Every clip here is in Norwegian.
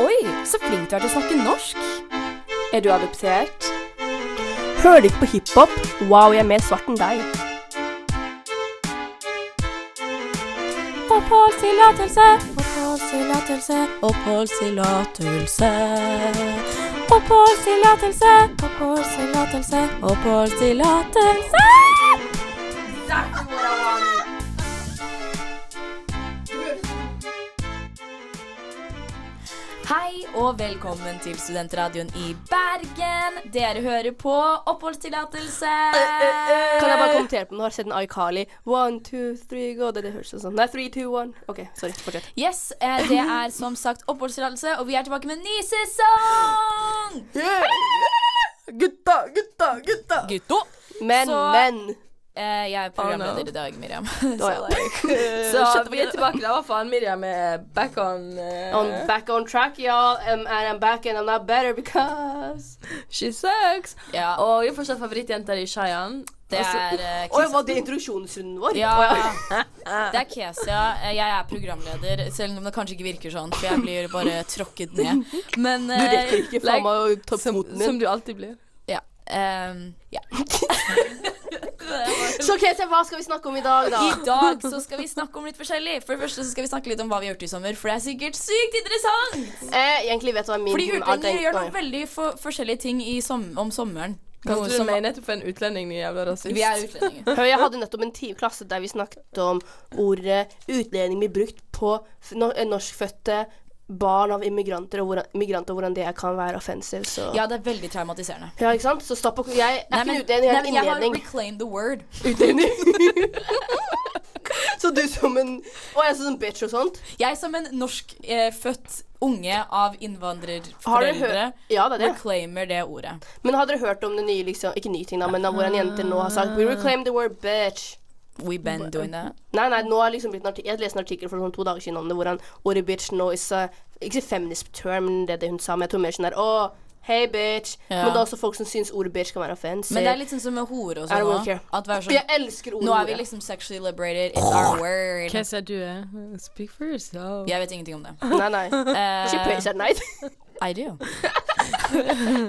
Oi, så flink du er til å snakke norsk. Er du adoptert? Hører du ikke på hiphop? Wow, jeg er mer svart enn deg. Oppholdstillatelse. Oppholdstillatelse, oppholdstillatelse. Oppholdstillatelse. Oppholdstillatelse, oppholdstillatelse. Hei og velkommen til Studentradioen i Bergen. Dere hører på Oppholdstillatelse. Eh, Kan jeg bare kommentere på noe? Har du sett en iCarly? One, two, three, go. Det, det høres sånn ut. Nei, three, two, one. OK, sorry. Fortsett. Yes, eh, det er som sagt oppholdstillatelse, og vi er tilbake med en ny sesong! Gutta, gutta, gutta. Gutto! Men, Så- men. Eh, jeg er Oh, programleder i dag, Miriam. Så ja. det- Så vi er tilbake der, i hvert fall. Miriam er back on eh, On back on track, y'all. Um, and I'm back and I'm not better because She sucks. ja, og Og jeg er fortsatt favorittjenta di, Shayan. det er eh, Oi, Kes- altså, var det introduksjonsrunden vår? ja, det er Kesia. Eh, Jeg er programleder, selv om det kanskje ikke virker sånn, for jeg blir bare tråkket ned. Men Du eh, rekker ikke faen meg å ta Som, foten din. som du alltid blir. Ja. ehm, ja. Så Kesia, hva skal vi snakke om i dag, da? I dag så skal vi snakke om litt forskjellig. For det første så skal vi snakke litt om hva vi har gjort i sommer, for det er sikkert sykt interessant! Eh, egentlig vet du hva min Fordi er utlendinger tenkt gjør nå, noen ja. veldig for forskjellige ting i som om sommeren. Kalte Noe du som- meg nettopp for en utlending, din jævla rasist? Vi er utlendinger. Hør, jeg hadde nettopp en ti- klasse der vi snakket om ordet utlending blir brukt på f- no- eh, norskfødte barn av immigranter, og hvordan, immigranter, og hvordan det kan være offensive. Så. Ja, det er veldig traumatiserende. Ja, ikke sant? Så stopp å Jeg er Nei, ikke men, en utlending, jeg nei, er men en jeg har innledning. reclaimed the word. Så du som en Å, jeg er sånn bitch og sånt? Jeg som en norskfødt eh, født unge av Har dere innvandrerforeldre hørt Ja, det er det. reclaimer det ordet. Men har dere hørt om det nye, liksom Ikke nye ting, da, men av hvordan jenter nå har sagt We reclaim the word bitch. We been doing that. Nei, nei, nå har liksom blitt en artik Jeg leste en artikkel for sånn to dager siden om det, hvordan ordet bitch nå is a Ikke feminist term, men det, er det hun sa, men jeg tror mer sånn der Å, hei, bitch. Ja. Men det er også folk som syns ordet bitch kan være offensive. Men det er litt sånn som med hore og I sånn. don't også. care. At være Jeg sånn, elsker ordet. nå er vi liksom sexually liberated. It's our word. Hva sa du? Speak for yourself. Jeg vet ingenting om det. Nei, nei. She Eh, prays at night. I do.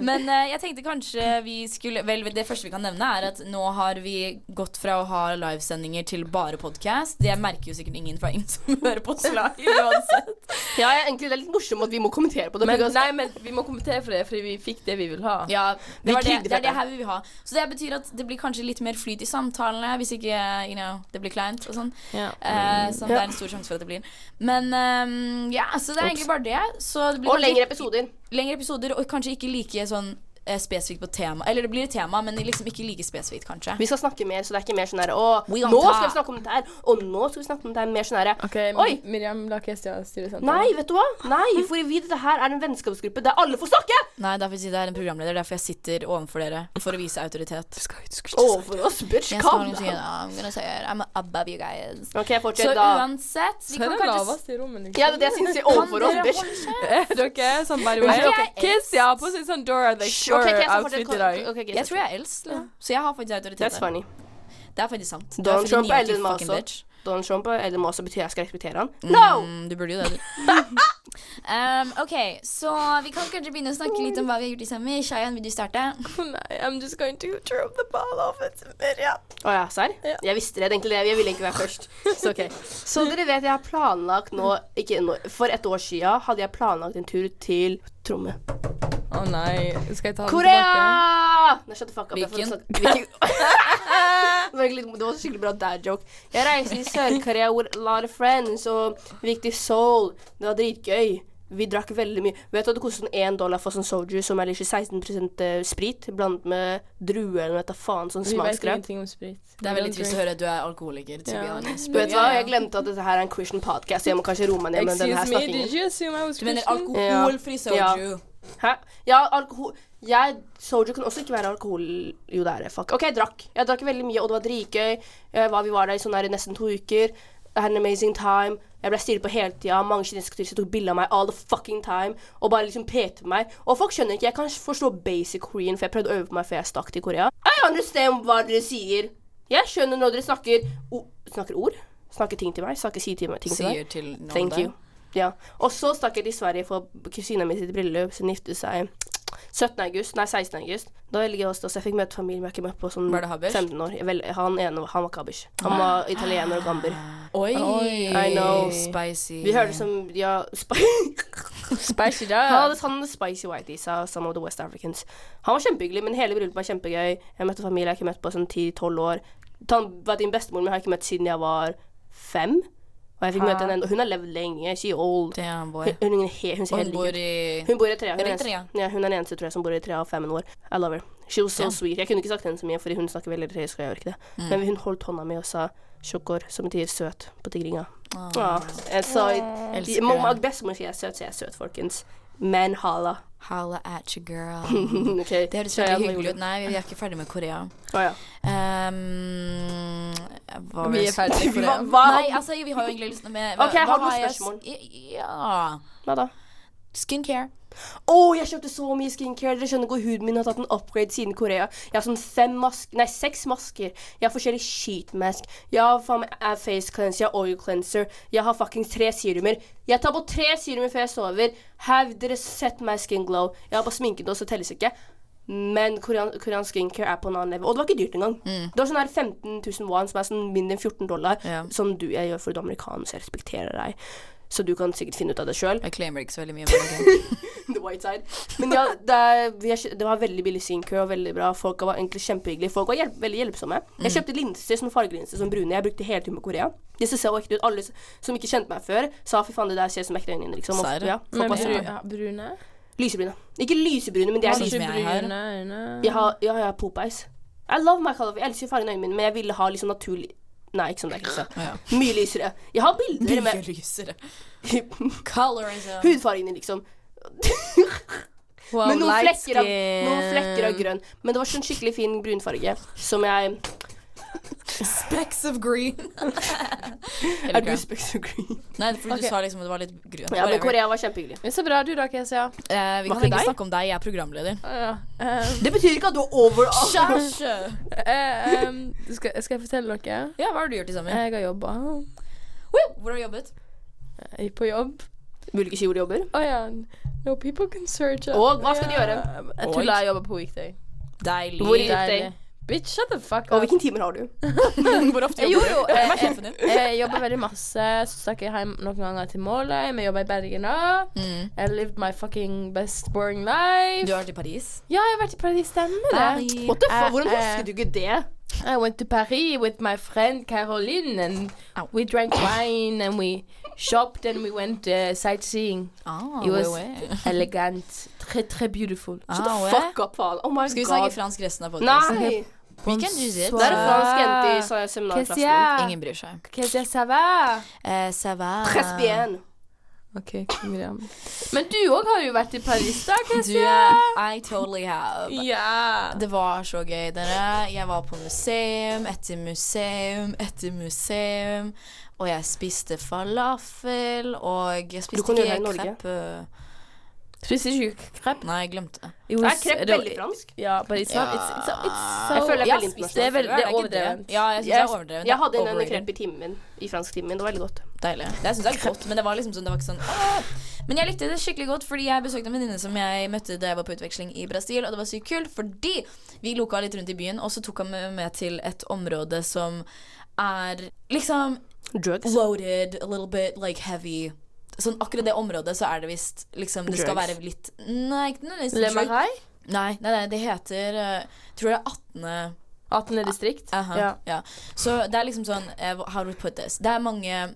Men eh, jeg tenkte kanskje vi skulle Vel, det første vi kan nevne, er at nå har vi gått fra å ha livesendinger til bare podkast. Det merker jo sikkert ingen fra ingen som hører på slag uansett. ja, jeg, egentlig det er litt morsomt at vi må kommentere på det. Men, because- nei, men vi må kommentere for det, fordi vi fikk det vi vil ha. Ja, Vi det, var det, krigde det er det fett, her vi vil ha. Så det betyr at det blir kanskje litt mer flyt i samtalene, hvis ikke you know, det blir kleint og sånn. Eh, som det Ja. er en stor sjanse for at det blir. Men eh, ja, så det er egentlig bare det. Så det blir og kanskje lengre ikke- episoder. lengre episoder, og kanskje ikke like sånn eh, spesifikt på tema. Eller det blir et tema, men liksom ikke like spesifikt, kanskje. Vi skal snakke mer, så det er ikke mer sånn herre Å, We nå don't skal vi talk. snakke om det her, og nå skal vi snakke om det her. Mer sånn herre OK, Oi! Mi- Miriam la Kestia styre samtalen. Nei, vet du hva? Nei, for vi, det her er en vennskapsgruppe der alle får snakke! Nei, derfor sier jeg det er en programleder. Derfor jeg sitter overfor dere. For å vise autoritet. Overfor oss, bitch. Jeg skal Kom! si, I'm gonna say it. I'm above you guys. OK, Så fortsett, da. uansett vi Så er kan det kanskje laveste i rommet. liksom. Ja, det er det jeg syns er overfor oss, bitch. Er dere sånn by the way? Unnskyld, jeg er Kestia har på seg sånn Dora the Hysj, ok, Kesa, fortsett, Shore-outfit i dag. ok, ok, Kesa. Jeg tror jeg er eldst, liksom. så jeg har faktisk autoritet. That's der. funny. Det er faktisk sant. Du er fordi Donald Trump ni er er eldre enn meg fucking også. bitch. Donald Trump og Elon Musk betyr jeg skal respektere han. No! Mm, du burde jo det, du. um, OK, så vi kan kanskje begynne å snakke litt om hva vi har gjort i sommer. Shayan, vil du starte? Nei, I'm just going to throw the ball off it to Miriam. Å ja, serr? Ja. Jeg visste det egentlig, jeg ville egentlig være først. Så ok. Så dere vet, jeg har planlagt nå ikke nå, For et år siden hadde jeg planlagt en tur til Tromme. Å nei, skal jeg ta den tilbake? Korea! Nei, shut the fuck up. jeg får Hvilken? snakke- Hvilken? det, var egentlig, det var en skikkelig bra dad-joke. Jeg reiste i Sør-Korea with a lot of friends, og vi gikk til Seoul. Det var dritgøy. Vi drakk veldig mye. Vet du at det koster sånn én dollar for sånn soju, som er liksom 16 sprit, blandet med druer eller noe, vet da faen, sånn Vi vet smaksgreier. ingenting om sprit. Det er veldig trist å høre at du er alkoholiker. To be Ja. honest. Vet du hva, Ja, ja. jeg glemte at dette her er en Christian podcast, så jeg må kanskje roe meg ned med denne Excuse her me, did snakkingen. you assume I was Du mener Christian? alkoholfri soju. Hæ? Ja, alkohol jeg, Soju kan også ikke være alkohol Jo, det er det, fuck. OK, jeg drakk. Jeg drakk veldig mye, og det var dritgøy. Jeg var- Vi var der i sånn her i nesten to uker. I had an amazing time. Jeg ble stirret på hele tida. Mange kinesiske turister tok bilde av meg all the fucking time og bare liksom pekte på meg. Og folk skjønner ikke. Jeg kan forstå basic Korean, for jeg prøvde å øve på meg før jeg stakk til Korea. I understand hva dere sier. Jeg skjønner når dere snakker o Snakker ord? Snakker ting til meg? Snakker si til meg ting til meg? Sier til noen Thank der. you. Ja. Og så stakk jeg til Sverige for kusina mi sitt bryllup. Hun giftet seg 17. august, nei 16. august. Da ligger jeg hos oss. Jeg fikk møte familien jeg ikke møtte på sånn Var det Habers? 15 år. Vel, han ene han var ikke Habers. Han var italiener og gamber. Oi! I know. Spicy. Vi hørte som Ja, spicy Spicy Han hadde spicy whiteys av some of the West Africans. Han var kjempehyggelig, men hele bryllupet var kjempegøy. Jeg møtte familie jeg ikke møtt på sånn 10-12 år. Han var din bestemor, men har jeg ikke møtt siden jeg var fem. Og jeg fikk møte henne, og hun har levd lenge. She old. Damn, boy. Hun, hun, er he- hun ser Hun helt lik bor ut. i Hun bor i Eritrea. Hun, er den Eritrea. eneste- ja, hun er den eneste tror jeg, som bor i Eritrea og fem år. I love her. She was so Ja. sweet. Jeg kunne ikke sagt henne så mye, fordi hun snakker veldig eritreisk, og jeg gjør ikke det. Mm. Men hun holdt hånda mi og sa 'sjokor', som betyr søt på tigringa. Åh, Ah, jeg sa, Elsker Mamma det. og bestemor sier jeg er søt, så jeg er søt, folkens. Men hala. Holla at you, girl. OK. Det høres Så veldig jeg hadde hyggelig ut. Nei, vi er ikke ferdig med Korea. Å ja. Um, hva var Vi er det- ferdige for Hva- det. hva? Nei, altså, vi har jo egentlig lyst til med hva- Ok, jeg hva har noen jeg- spørsmål. Ja Hva da? Skincare. Å, jeg kjøpte så mye skincare. Dere skjønner ikke hvor huden min har tatt en upgrade siden Korea. Jeg har sånn fem masker Nei, seks masker. Jeg har forskjellig sheetmask. Jeg har faen meg eh, face cleanser, jeg har oil cleanser. Jeg har fuckings tre serumer. Jeg tar på tre serumer før jeg sover. Have dere sett meg skin glow? Jeg har bare sminket oss, så telles ikke. Men korean, koreansk skincare er på en annen level. Og det var ikke dyrt engang. Det var sånn her 15 000 won, som er sånn mindre enn 14 dollar. Ja. Som du jeg gjør for du er amerikaner, så jeg respekterer deg. Så du kan sikkert finne ut av det sjøl. Jeg claimer ikke så veldig mye. Men ok. The white side. Men ja, det, er, vi har, kjø- det var veldig billig skincare og veldig bra. Folk var egentlig kjempehyggelige. Folk var hjelp, veldig hjelpsomme. Jeg kjøpte linser, sånne fargelinser, sånn brune. Jeg brukte hele turen på Korea. Disse så ekte ut. Alle s- som ikke kjente meg før, sa fy faen, det der ser ut som ekte øyne dine, liksom. Og- Sa jeg det? Ja, folk Men var bru, sånn, ja, brune? lysebrune. Ikke lysebrune, men de er Sånn lyse. som jeg er her. brune øyne? Jeg har, ja, jeg har popeis. I love my color. Jeg elsker fargen i øynene mine, men jeg ville ha liksom naturlig Nei, ikke sånn det er ikke sant. Ja. Mye lysere. Jeg har Mye bilder med lysere. hudfargene, Colorism. liksom. Wow, Men noen light flekker, av, skin. noen flekker av grønn. Men det var sånn skikkelig fin brunfarge som jeg Specks of green. Eller Er du grønn. specks of green? Nei, fordi Ok. du sa liksom at det var litt grønn. Ja, men Whatever. Korea var kjempehyggelig. Men Så bra du da, Kesia. Eh, vi Var kan ikke ikke deg? snakke om deg, jeg er programleder. Ja. Um, Det betyr ikke at du er over all Kjæsje! eh, um, skal, skal jeg fortelle noe? Ja, hva har du gjort i sommer? Jeg har jobba. Woo! Hvor har du jobbet? Jeg er eh, på jobb. Vil du ikke si hvor du jobber? Å ja. No people can search up. Og hva skal du gjøre? Ja, Jeg Og? tulla jeg jobber på weekday. Deilig. Hvor i- Deilig. Deilig. Bitch, shut the fuck up. Og hvilken timer har du? Hvor ofte Jeg jobber gjorde jo, du? Hvem eh, er sjefen din? Jeg jobber veldig masse. Så stakk jeg hjem noen ganger til Måløy. Vi jobber i Bergen da. Mm. I lived my fucking best boring life. Du har vært i Paris. Ja, jeg har vært i Paris. Stemmer det? Paris. eh, What the Eh, fuck? Hvordan eh. husker du ikke det? I went to Paris with my friend Caroline and Ow. we drank wine and we shopped and we went uh, sightseeing. Ah, It was- ouais, ouais. Elegant. Très, très beautiful. Shut the Ah, ouais. fuck up, faen. Oh my Skal vi snakke god. fransk resten av podcasten? Nei! We can do this. Det er en Bonsoir. fransk jente i sa- seminarklassen min. Kesia, Ingen bryr seg. Kesia, ça va? Eh, ça va? Tres bien. Ok, Miriam. Men du òg har jo vært i Paris, da, Du, Kesia. eh, I totally have. Ja. Det var så gøy, dere. Jeg var på museum etter museum etter museum. Og jeg spiste falafel, og jeg Du spiste kan gjøre det i ikke Norge. krepp. Spiste ikke krepp? Nei, jeg glemte det. It Er was- krepp det- veldig fransk? Ja, but it's not it's, it's, it's, so Jeg føler det er Jeg veldig spiste Det er vel- før, det er ikke overdrevent. Ja, jeg syns det er overdrevent. Jeg hadde en eller annen Overrated. krepp i timen min. I fransktimen min. Det var veldig godt. Deilig. Det syns jeg er godt, men det var liksom sånn, det var ikke sånn «Åh!» Men jeg likte det skikkelig godt, fordi jeg besøkte en venninne som jeg møtte da jeg var på utveksling i Brasil, og det var sykt kult, fordi vi loka litt rundt i byen, og så tok han meg med til et område som er liksom Drugs. loaded, a little bit like heavy. Sånn akkurat det området så er det visst liksom Det skal være Drugs. litt Nei, ikke nødvendigvis Le drug- Marais? Nei, nei, nei, det heter eh, Tror det er 18. 18. distrikt? Aha, Ja. ja. Så det er liksom sånn eh, How do we put this? Det er mange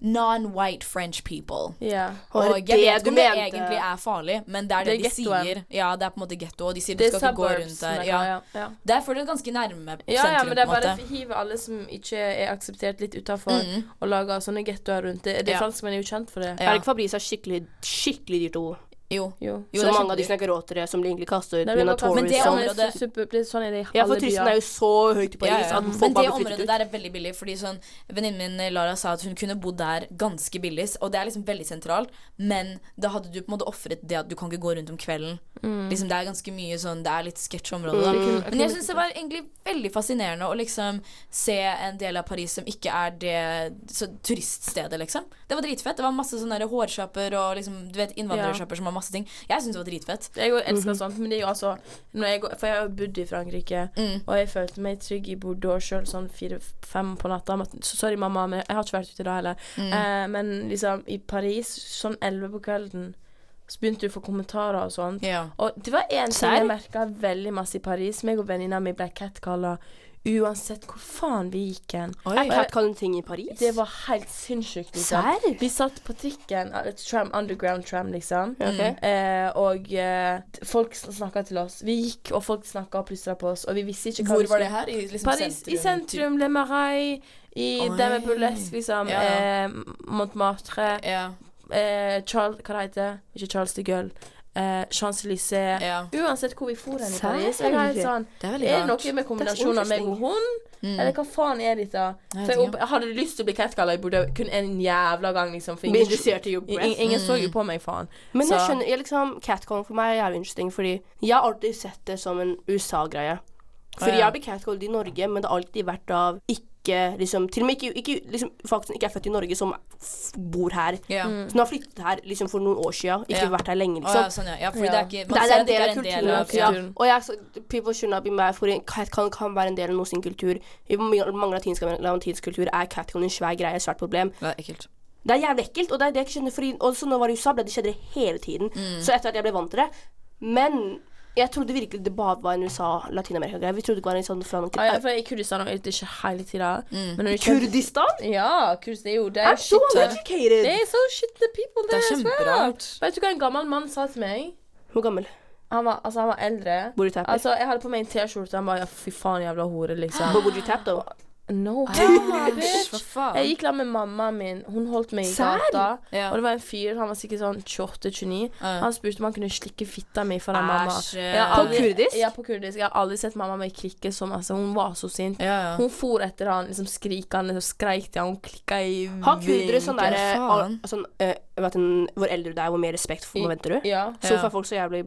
non-white French people. Ja. Var Og det jeg vet det ikke du om det mente? egentlig er farlig, men det er det, Det de er ghettoen. sier. Ja, det er på en måte getto, og de sier du Det er skal ikke gå rundt suburbs. der. Ja. Ja. Ja, ja. Det er fortsatt ganske nærme ja, ja, sentrum, men det er på en bare måte. å hive alle som ikke er akseptert, litt utafor, Mm. og lage sånne gettoer rundt. Det, det Ja. Franskmenn er jo kjent for det. Ja. Er det ikke Fabrice er skikkelig, skikkelig dyrt å bo? Jo. Jo. jo så det er mange av de kjempedyrt. som er råtere, som de egentlig kaster ut Det er pga. noe- men det tourism. området- super- det er sånn er det i Ja, for alle turistene er byer. jo så høyt i Paris at Men folk det bare blir flyttet området ut. der er veldig billig. Fordi sånn, Venninnen min Lara sa at hun kunne bodd der ganske billig, og det er liksom veldig sentralt, men da hadde du på en måte ofret det at du kan ikke gå rundt om kvelden. Mm. Liksom, det er ganske mye sånn Det er litt sketsj område. da. Mm. Men jeg syns det var egentlig veldig fascinerende å liksom se en del av Paris som ikke er det så, turiststedet, liksom. Det var dritfett. Det var masse sånne der hårsjapper og liksom, du vet, innvandrersjapper som har masse ting. Jeg syns det var dritfett. Jeg jo elsker Mhm. sånt, men det er jo altså når jeg, går- For jeg har jo bodd i Frankrike, Mm. og jeg følte meg trygg i Bordeaux sjøl sånn fire-fem på natta. Men, så- sorry, mamma, men jeg har ikke vært ute da heller. Mm. Eh, men liksom i Paris sånn elleve på kvelden, så begynte du å få kommentarer og sånt. Ja. Og det var en ting Serr? jeg merka veldig masse i Paris, meg og venninna mi ble catcalla uansett hvor faen vi gikk hen. Er catcalling ting i Paris? Det var helt sinnssykt. liksom. Serr? Vi satt på trikken, eh, tram, underground tram, liksom. Ok. Eh, og eh, t- folk snakka til oss. Vi gikk, og folk snakka og plystra på oss. Og vi visste ikke hva Hvor vi var det skulle- her? I liksom Paris, i typ? sentrum, Le Marais, i Oi. det med burlesk, liksom. Ja. Eh, Montmartre, Ja. eh, Charles Hva det heter det? Ikke Charles de Gaulle. Eh, Champs-Élysées. ja. Uansett hvor vi for hen i Serr? Paris. Jeg er helt sånn Det er veldig Er det rart. noe med kombinasjonen av meg og hun? Mm. Eller hva faen er dette? Nei, jeg For jeg, vet ikke. opp- jeg hadde lyst til å bli catcalla i Bodø kun en jævla gang, liksom. For Blir ingen, interessert i your ingen, breath. ingen så Mm. jo på meg, faen. Men jeg Så- skjønner, jeg liksom, catcalling for meg er jævlig interesting, fordi jeg har alltid sett det som en USA-greie. Fordi Å, ja. jeg blir catcalled i Norge, men det har alltid vært av ikke liksom, Til og med ikke, ikke liksom, folk som ikke er født i Norge, som f bor her. Ja. Mm. Som har flyttet her liksom, for noen år siden, ikke Ja. vært her lenge, Å, ja, liksom. sånn, ja. ja, fordi Ja. det er ikke Det Man er ser en at det del ikke av er en del kulturen. av ja. ja. kulturen. Og jeg, så- people should not be mad, for catcalling kan være en del av noen sin kultur. I mange mange latinske latinsk kultur er catcalling en svær greie, et svært problem. Det er ekkelt. Det er jævlig ekkelt, og det er det jeg ikke skjønner. Fordi også når jeg var i USA, ble det skjedde det hele tiden. Mm. Så etter at jeg ble vant til det. Men jeg trodde virkelig det bare var en USA-Latin-Amerika-greie. Vi trodde det var en sånn fra Ja, ja, noen for I Kurdistan er det ikke hele tida. Mm. Men når du kjører- Kurdistan? Ja, Kurdistan er jo Det er I'm jo so shit. Det uneducated! er så shitne people, det, Det er as well. kjemperart. Vet du hva en gammel mann sa til meg? Hvor gammel? Han var, altså, han var eldre. Bor du tapper? Altså, Jeg hadde på meg en T-skjorte, han bare ja, 'fy faen, jævla hore', liksom. Hvor bor du tapp, da? No, Æsj, hva bitch. faen? Jeg gikk sammen med mammaen min. Hun holdt meg i Serr? gata. Ja. Og det var en fyr, han var sikkert sånn 28-29. Ja. Han spurte om han kunne slikke fitta mi foran mamma. Æsj. Jeg har På aldri- kurdisk? Ja, på kurdisk. Jeg har aldri sett mamma mi klikke så masse. Hun var så sint. Ja, ja. Hun for etter han liksom skrikende og skreik til han. Hun klikka i Har kurdere sånn vinkel. derre faen. sånn, eh, vet du, Hvor eldre du er, hvor mer respekt for- forventer du? Ja. Så Ja. er folk så jævlig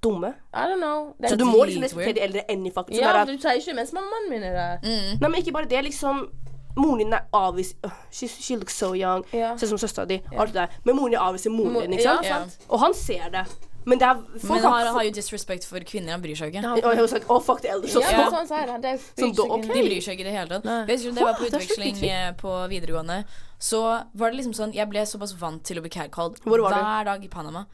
dumme. I don't know. Det er Så du må liksom dritweird. respektere de eldre enn i faktisk. ja, Sånn men der, du sier ikke mens mammaen min er der. Mm. nei, men ikke bare det. liksom Moren din er avvist øh, she, she looks so young. Ja. Sånn som søstera di. Alt det der. Men moren din avviser moren din, ikke Ja, sant? Ja. sant? Og han ser det. Men det er Men folk han har, har jo disrespect for kvinner. Han bryr seg jo ikke. Og jeg har sagt 'å, fuck the elders' Ja, også. Ja. sånn sier han. Det er Sånn, da- ok. De bryr seg ikke i det hele tatt. Nei. Jeg husker da jeg var på Wow, det er så utveksling sjukt. eh, på videregående, så var det liksom sånn Jeg ble såpass vant til å bli catcalled Hvor var du? Mm. hver dag i Panama.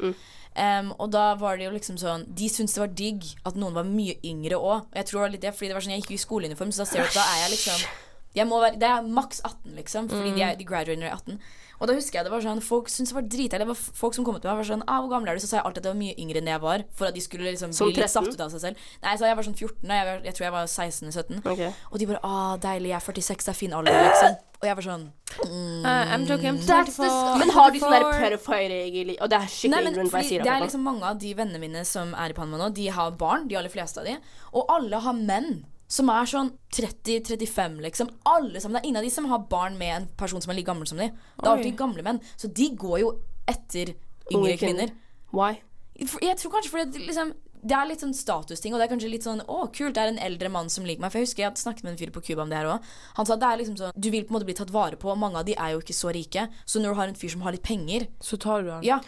Em, og da var det jo liksom sånn De syntes det var digg at noen var mye yngre òg. Og jeg tror det var litt det, fordi det var sånn Jeg gikk jo i skoleuniform, så da ser du at da er jeg liksom jeg må være, Det er maks 18, liksom, fordi de, er, de graduater i 18. Og da husker jeg det var sånn Folk syntes det var dritdeilig. Det var f- Folk som kom opp til meg var sånn ah, 'Hvor gammel er du?' Så sa jeg alltid at jeg var mye yngre enn jeg var, for at de skulle liksom Som bli litt 13? satt ut av seg selv. Nei, så jeg var sånn 14, og jeg, var- jeg tror jeg var 16-17. Ok. Og de bare 'Ah, deilig, jeg er 46, det er fin alder', liksom. Og jeg var sånn Eh, I'm joking. I'm That's the, men har de sånn der pedophile regel Og det er Nei, skikkelig men ignorant hva jeg fordi sier. det er akkurat nå. liksom mange av de vennene mine som er i Panama nå, de har barn, de aller fleste av de, og alle har menn. Som er sånn 30-35, liksom. Alle sammen. Det er ingen av de som har barn med en person som er like gammel som de. Det er alltid gamle menn. Så de går jo etter yngre Unge kvinner. kvinner. Why? For- Jeg tror kanskje fordi at liksom, det er litt sånn statusting, og det er kanskje litt sånn 'Å, kult, det er en eldre mann som liker meg'. For jeg husker jeg hadde snakket med en fyr på Cuba om det her òg. Han sa det er liksom sånn Du vil på en måte bli tatt vare på, og mange av de er jo ikke så rike. Så når du har en fyr som har litt penger, Så tar du han. ja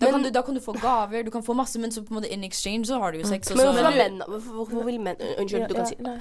da, kan du, da kan du få gaver, du kan få masse, men så på en måte in exchange så har du jo sex. Og Mm. Men så, hvorfor, er menn, hvorfor, hvorfor vil menn øh, Unnskyld, du kan si nei.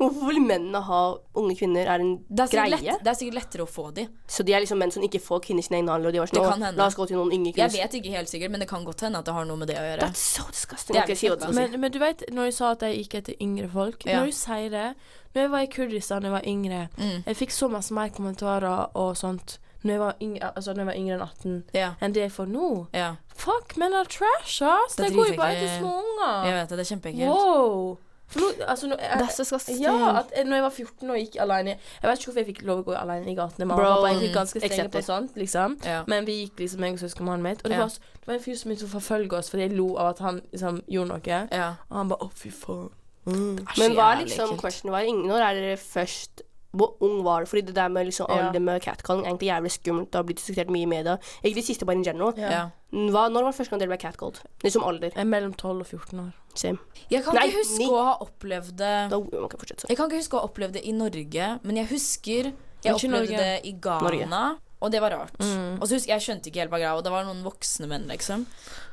Hvorfor vil mennene ha unge kvinner er en det, er sikkert greie? lett, det er sikkert lettere å få de. Så de er liksom menn som ikke får kvinner i sine egne handler, og de var sånn Det «Å, kan hende. La oss gå til noen yngre Jeg kvinner. vet ikke helt sikkert, men det kan godt hende at det har noe med det å gjøre. That's so disgusting. Det er Ok, litt si hva du kjempe- skal si. Men, men du vet, når jeg sa at jeg gikk etter yngre folk Ja. Når du sier det Når jeg var i Kurdistan da jeg var yngre, Mm. jeg fikk så masse mer kommentarer og sånt når jeg var yngre, altså når jeg var yngre enn 18, Ja. enn det jeg får nå. Ja, Fuck, men er trash, ass! Det Det er går jo bare dritekkelt. til små Ah. unger. jeg vet det. Det er kjempeekkelt. Wow! For nå, altså, nå, jeg, That's disgusting. ja, at jeg- når jeg var 14 og gikk alene Jeg vet ikke hvorfor jeg fikk lov å gå alene i gatene. Mamma Bro, og pappa er egentlig ganske strenge accepted. på sånt, liksom. Ja. Men vi gikk liksom, jeg og søskenmannen mitt. Og det, Ja. var, så- det var en fyr som begynte å forfølge oss fordi jeg lo av at han liksom gjorde noe. Ja. Og han bare 'Å, fy faen'. Men hva Jævlig er liksom ekkelt. question? Hva er ingen, når er dere først hvor ung var du? Fordi det der med liksom Ja. alder med catcalling er egentlig jævlig skummelt. Det har blitt diskutert mye i media. Egentlig det siste, bare in general. Ja. Ja. Hva, når var det første gang dere ble catcalled? Liksom alder. Jeg er mellom 12 og 14 år. Same. Jeg kan Nei, ikke huske ni. å ha opplevd det Da man kan fortsette sånn. Jeg kan ikke huske å ha opplevd det i Norge, men jeg husker Ikke jeg opplevde Norge. det i Ghana. Norge. Mm. Og det var rart. Og så husker jeg jeg skjønte ikke helt hva greia var. og Det var noen voksne menn, liksom.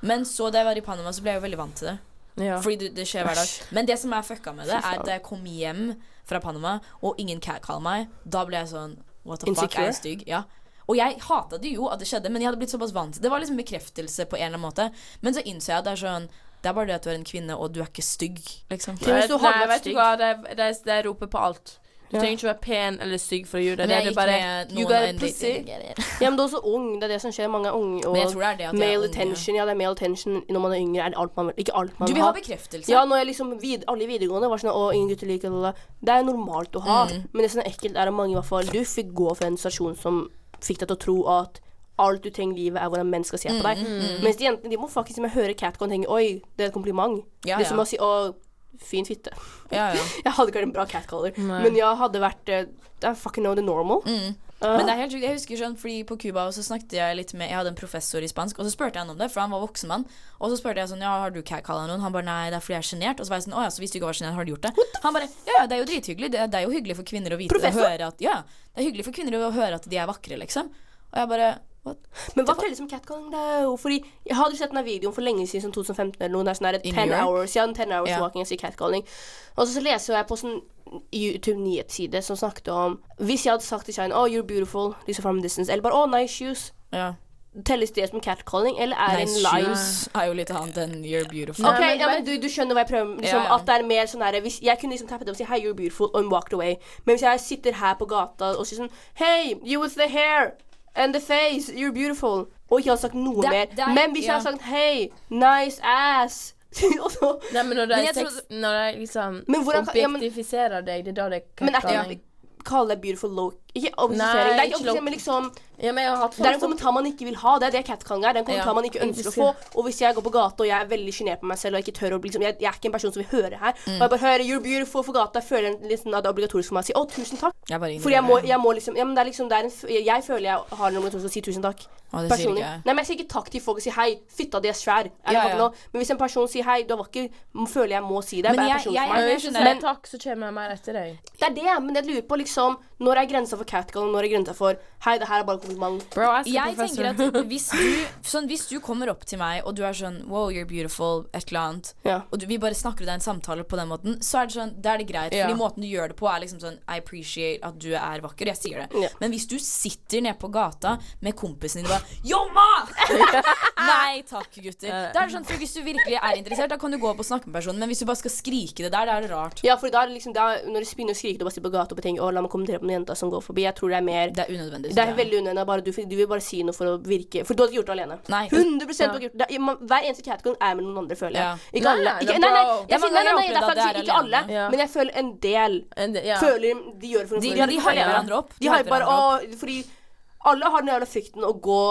Men så da jeg var i Panama, så ble jeg jo veldig vant til det. Ja. Fordi det, det skjer hver dag. Men det som er fucka med det, Fy er faen. at da jeg kom hjem fra Panama, og ingen catcaller meg, da ble jeg sånn What the fuck, Insecure? er jeg stygg? Ja. Og jeg hata det jo at det skjedde, men jeg hadde blitt såpass vant til det. Det var liksom bekreftelse på en eller annen måte. Men så innså jeg at det er sånn Det er bare det at du er en kvinne, og du er ikke stygg, liksom. Til og med Nei, hvis du hadde nei, vært vet du stygg. hva, de, de, de roper på alt. Du Ja. trenger ikke være pen eller stygg for å gjøre Men det. Det jeg er det gikk bare med You noen got a en- pussy. Ja, men du er også ung. Det er det som skjer. Mange er unge. Og Men jeg tror det er det at jeg er male ung, ja. attention. Ja, det er male attention når man er yngre. Er det alt man vil. Ikke alt man Du vil vil ha. ha bekreftelse. Ja, når jeg liksom vid alle i videregående var sånn Å, ingen gutter liker det. Det er normalt å ha. Mm. Men det som er ekkelt, er at mange i hvert fall Du fikk gå fra en stasjon som fikk deg til å tro at alt du trenger i livet, er hvordan menn skal Mm. se på deg. Mm. Mens de jentene de må faktisk med høre catcon tenke Oi, det er et kompliment. Ja, det er som ja. å si Å, fin fitte. Ja, ja. Jeg hadde ikke vært en bra catcaller, men jeg hadde vært eh, I fucking know the normal. Uh, Men det er helt sjukt. Jeg husker sånn, fordi på Cuba så snakket jeg litt med Jeg hadde en professor i spansk, og så spurte jeg han om det, for han var voksen mann. Og så spurte jeg sånn Ja, har du catcalla noen? Han bare nei, det er fordi jeg er sjenert. Og så var jeg sånn Å ja, så hvis du ikke var sjenert, har du gjort det? Han bare Ja, ja, det er jo drithyggelig. Det er, det er jo hyggelig for kvinner å vite Professor? høre at Ja, det er hyggelig for kvinner å høre at de er vakre, liksom. Og jeg bare What? Men hva teller som catcalling? Det er jo fordi Jeg hadde sett denne videoen for lenge siden, som 2015 eller noe. Det er sånn her I 10 New York? hours, ja, 10 hours Ja. walking, jeg sier catcalling. Og så, så leser jeg på sånn YouTube-nyhetsside som snakket om Hvis jeg hadde sagt til Shine Oh, you're beautiful, liksom from a distance, eller bare Oh, nice shoes, Ja. telles det som catcalling, eller er det en Nice lie? shoes er jo litt annet enn you're beautiful. Ok, men ja, bare- men du, du skjønner hva jeg prøver med, liksom, Ja, ja. At det er mer sånn her hvis, Jeg kunne liksom tappet dem og si Hei, you're beautiful And walked away Men hvis jeg sitter her på gata Og sier sånn Hei, you with the hair And the face You're beautiful Og ikke hadde sagt noe Det- mer det er- Men hvis jeg ja. hadde sagt Hei, nice ass Og så Nei, men når de, Men jeg sex, når de liksom Men hvordan kan- ja, men- objektifiserer deg, det er da det er Men er ikke catcalling. Kalle deg beautiful low Ikke Nei, objektisering Det er ikke ikke objektisering Men liksom Ja, men jeg har hatt Det er en folk som- kommentar man ikke vil ha. Det er det catcalling er. Det er en kommentar Ja. man ikke ønsker å få. Og hvis jeg går på gata og jeg er veldig sjenert på meg selv og ikke tør å liksom, jeg, jeg er ikke en person som vil høre her. Mm. Og jeg bare hører 'You're beautiful' for gata. Jeg føler en- liksom, at det er obligatorisk for meg å si 'Å, tusen takk'. Jeg bare Fordi jeg må, ignorerer det. jeg må liksom Ja, men det er liksom det er en, f- jeg, jeg føler jeg har en obligatorisk å si tusen Å, takk. det sier Personlig. ikke jeg. Nei, men jeg sier ikke takk til folk og sier 'Hei, fitta di er svær'. Ja, Er det ja. vakker nå? Men hvis en person sier 'Hei, du er vakker', m- føler jeg må si det. Men Men jeg, jeg- person jeg- for meg. Men sånn Hvis du skjønner. sier takk, så kommer de mer etter deg. Det er det, men jeg lurer på liksom Når er grensa for catcall, og når er grensa for 'Hei, det her er bare en kompliment'? Bro, jeg Jeg tenker at hvis du, sånn, hvis du kommer opp til meg og du er sånn Wow, you're beautiful, et eller annet. Ja. Og du, vi bare snakker og det er en samtale på den måten, så er det sånn, da er det greit. Ja. Fordi måten du gjør det på, er liksom sånn I appreciate at du er vakker. Jeg sier det. Ja. Mm. Men hvis du sitter nede på gata med kompisen din og bare Yo, man! Nei takk, gutter. Da er det sånn, for Hvis du virkelig er interessert, da kan du gå opp og snakke med personen. Men hvis du bare skal skrike det der, da er det rart. Ja, for da er det liksom da, Når de begynner å skrike og bare sitter på gata og bare tenker 'Å, la meg kommentere på den jenta som går forbi', jeg tror det er mer Det er unødvendig. det er synes jeg. veldig unødvendig. bare Du, du vil bare si noe for å virke For du hadde ikke gjort det alene. Nei. 100 du hadde gjort det. man, Hver eneste catcon er med noen andre, føler jeg. Ja. Ikke Nei, alle. nei, Ikke, det er nei, nei, bra. jeg Ja, sier, men nei, nei, jeg nei, det opplevde er at faktisk det er ikke alle, alene. Ja. men jeg føler en del En del- ja. føler de gjør for De- noe. ja, de hyper hverandre opp. De De hyper hyper bare, å, fordi alle har den jævla frykten å gå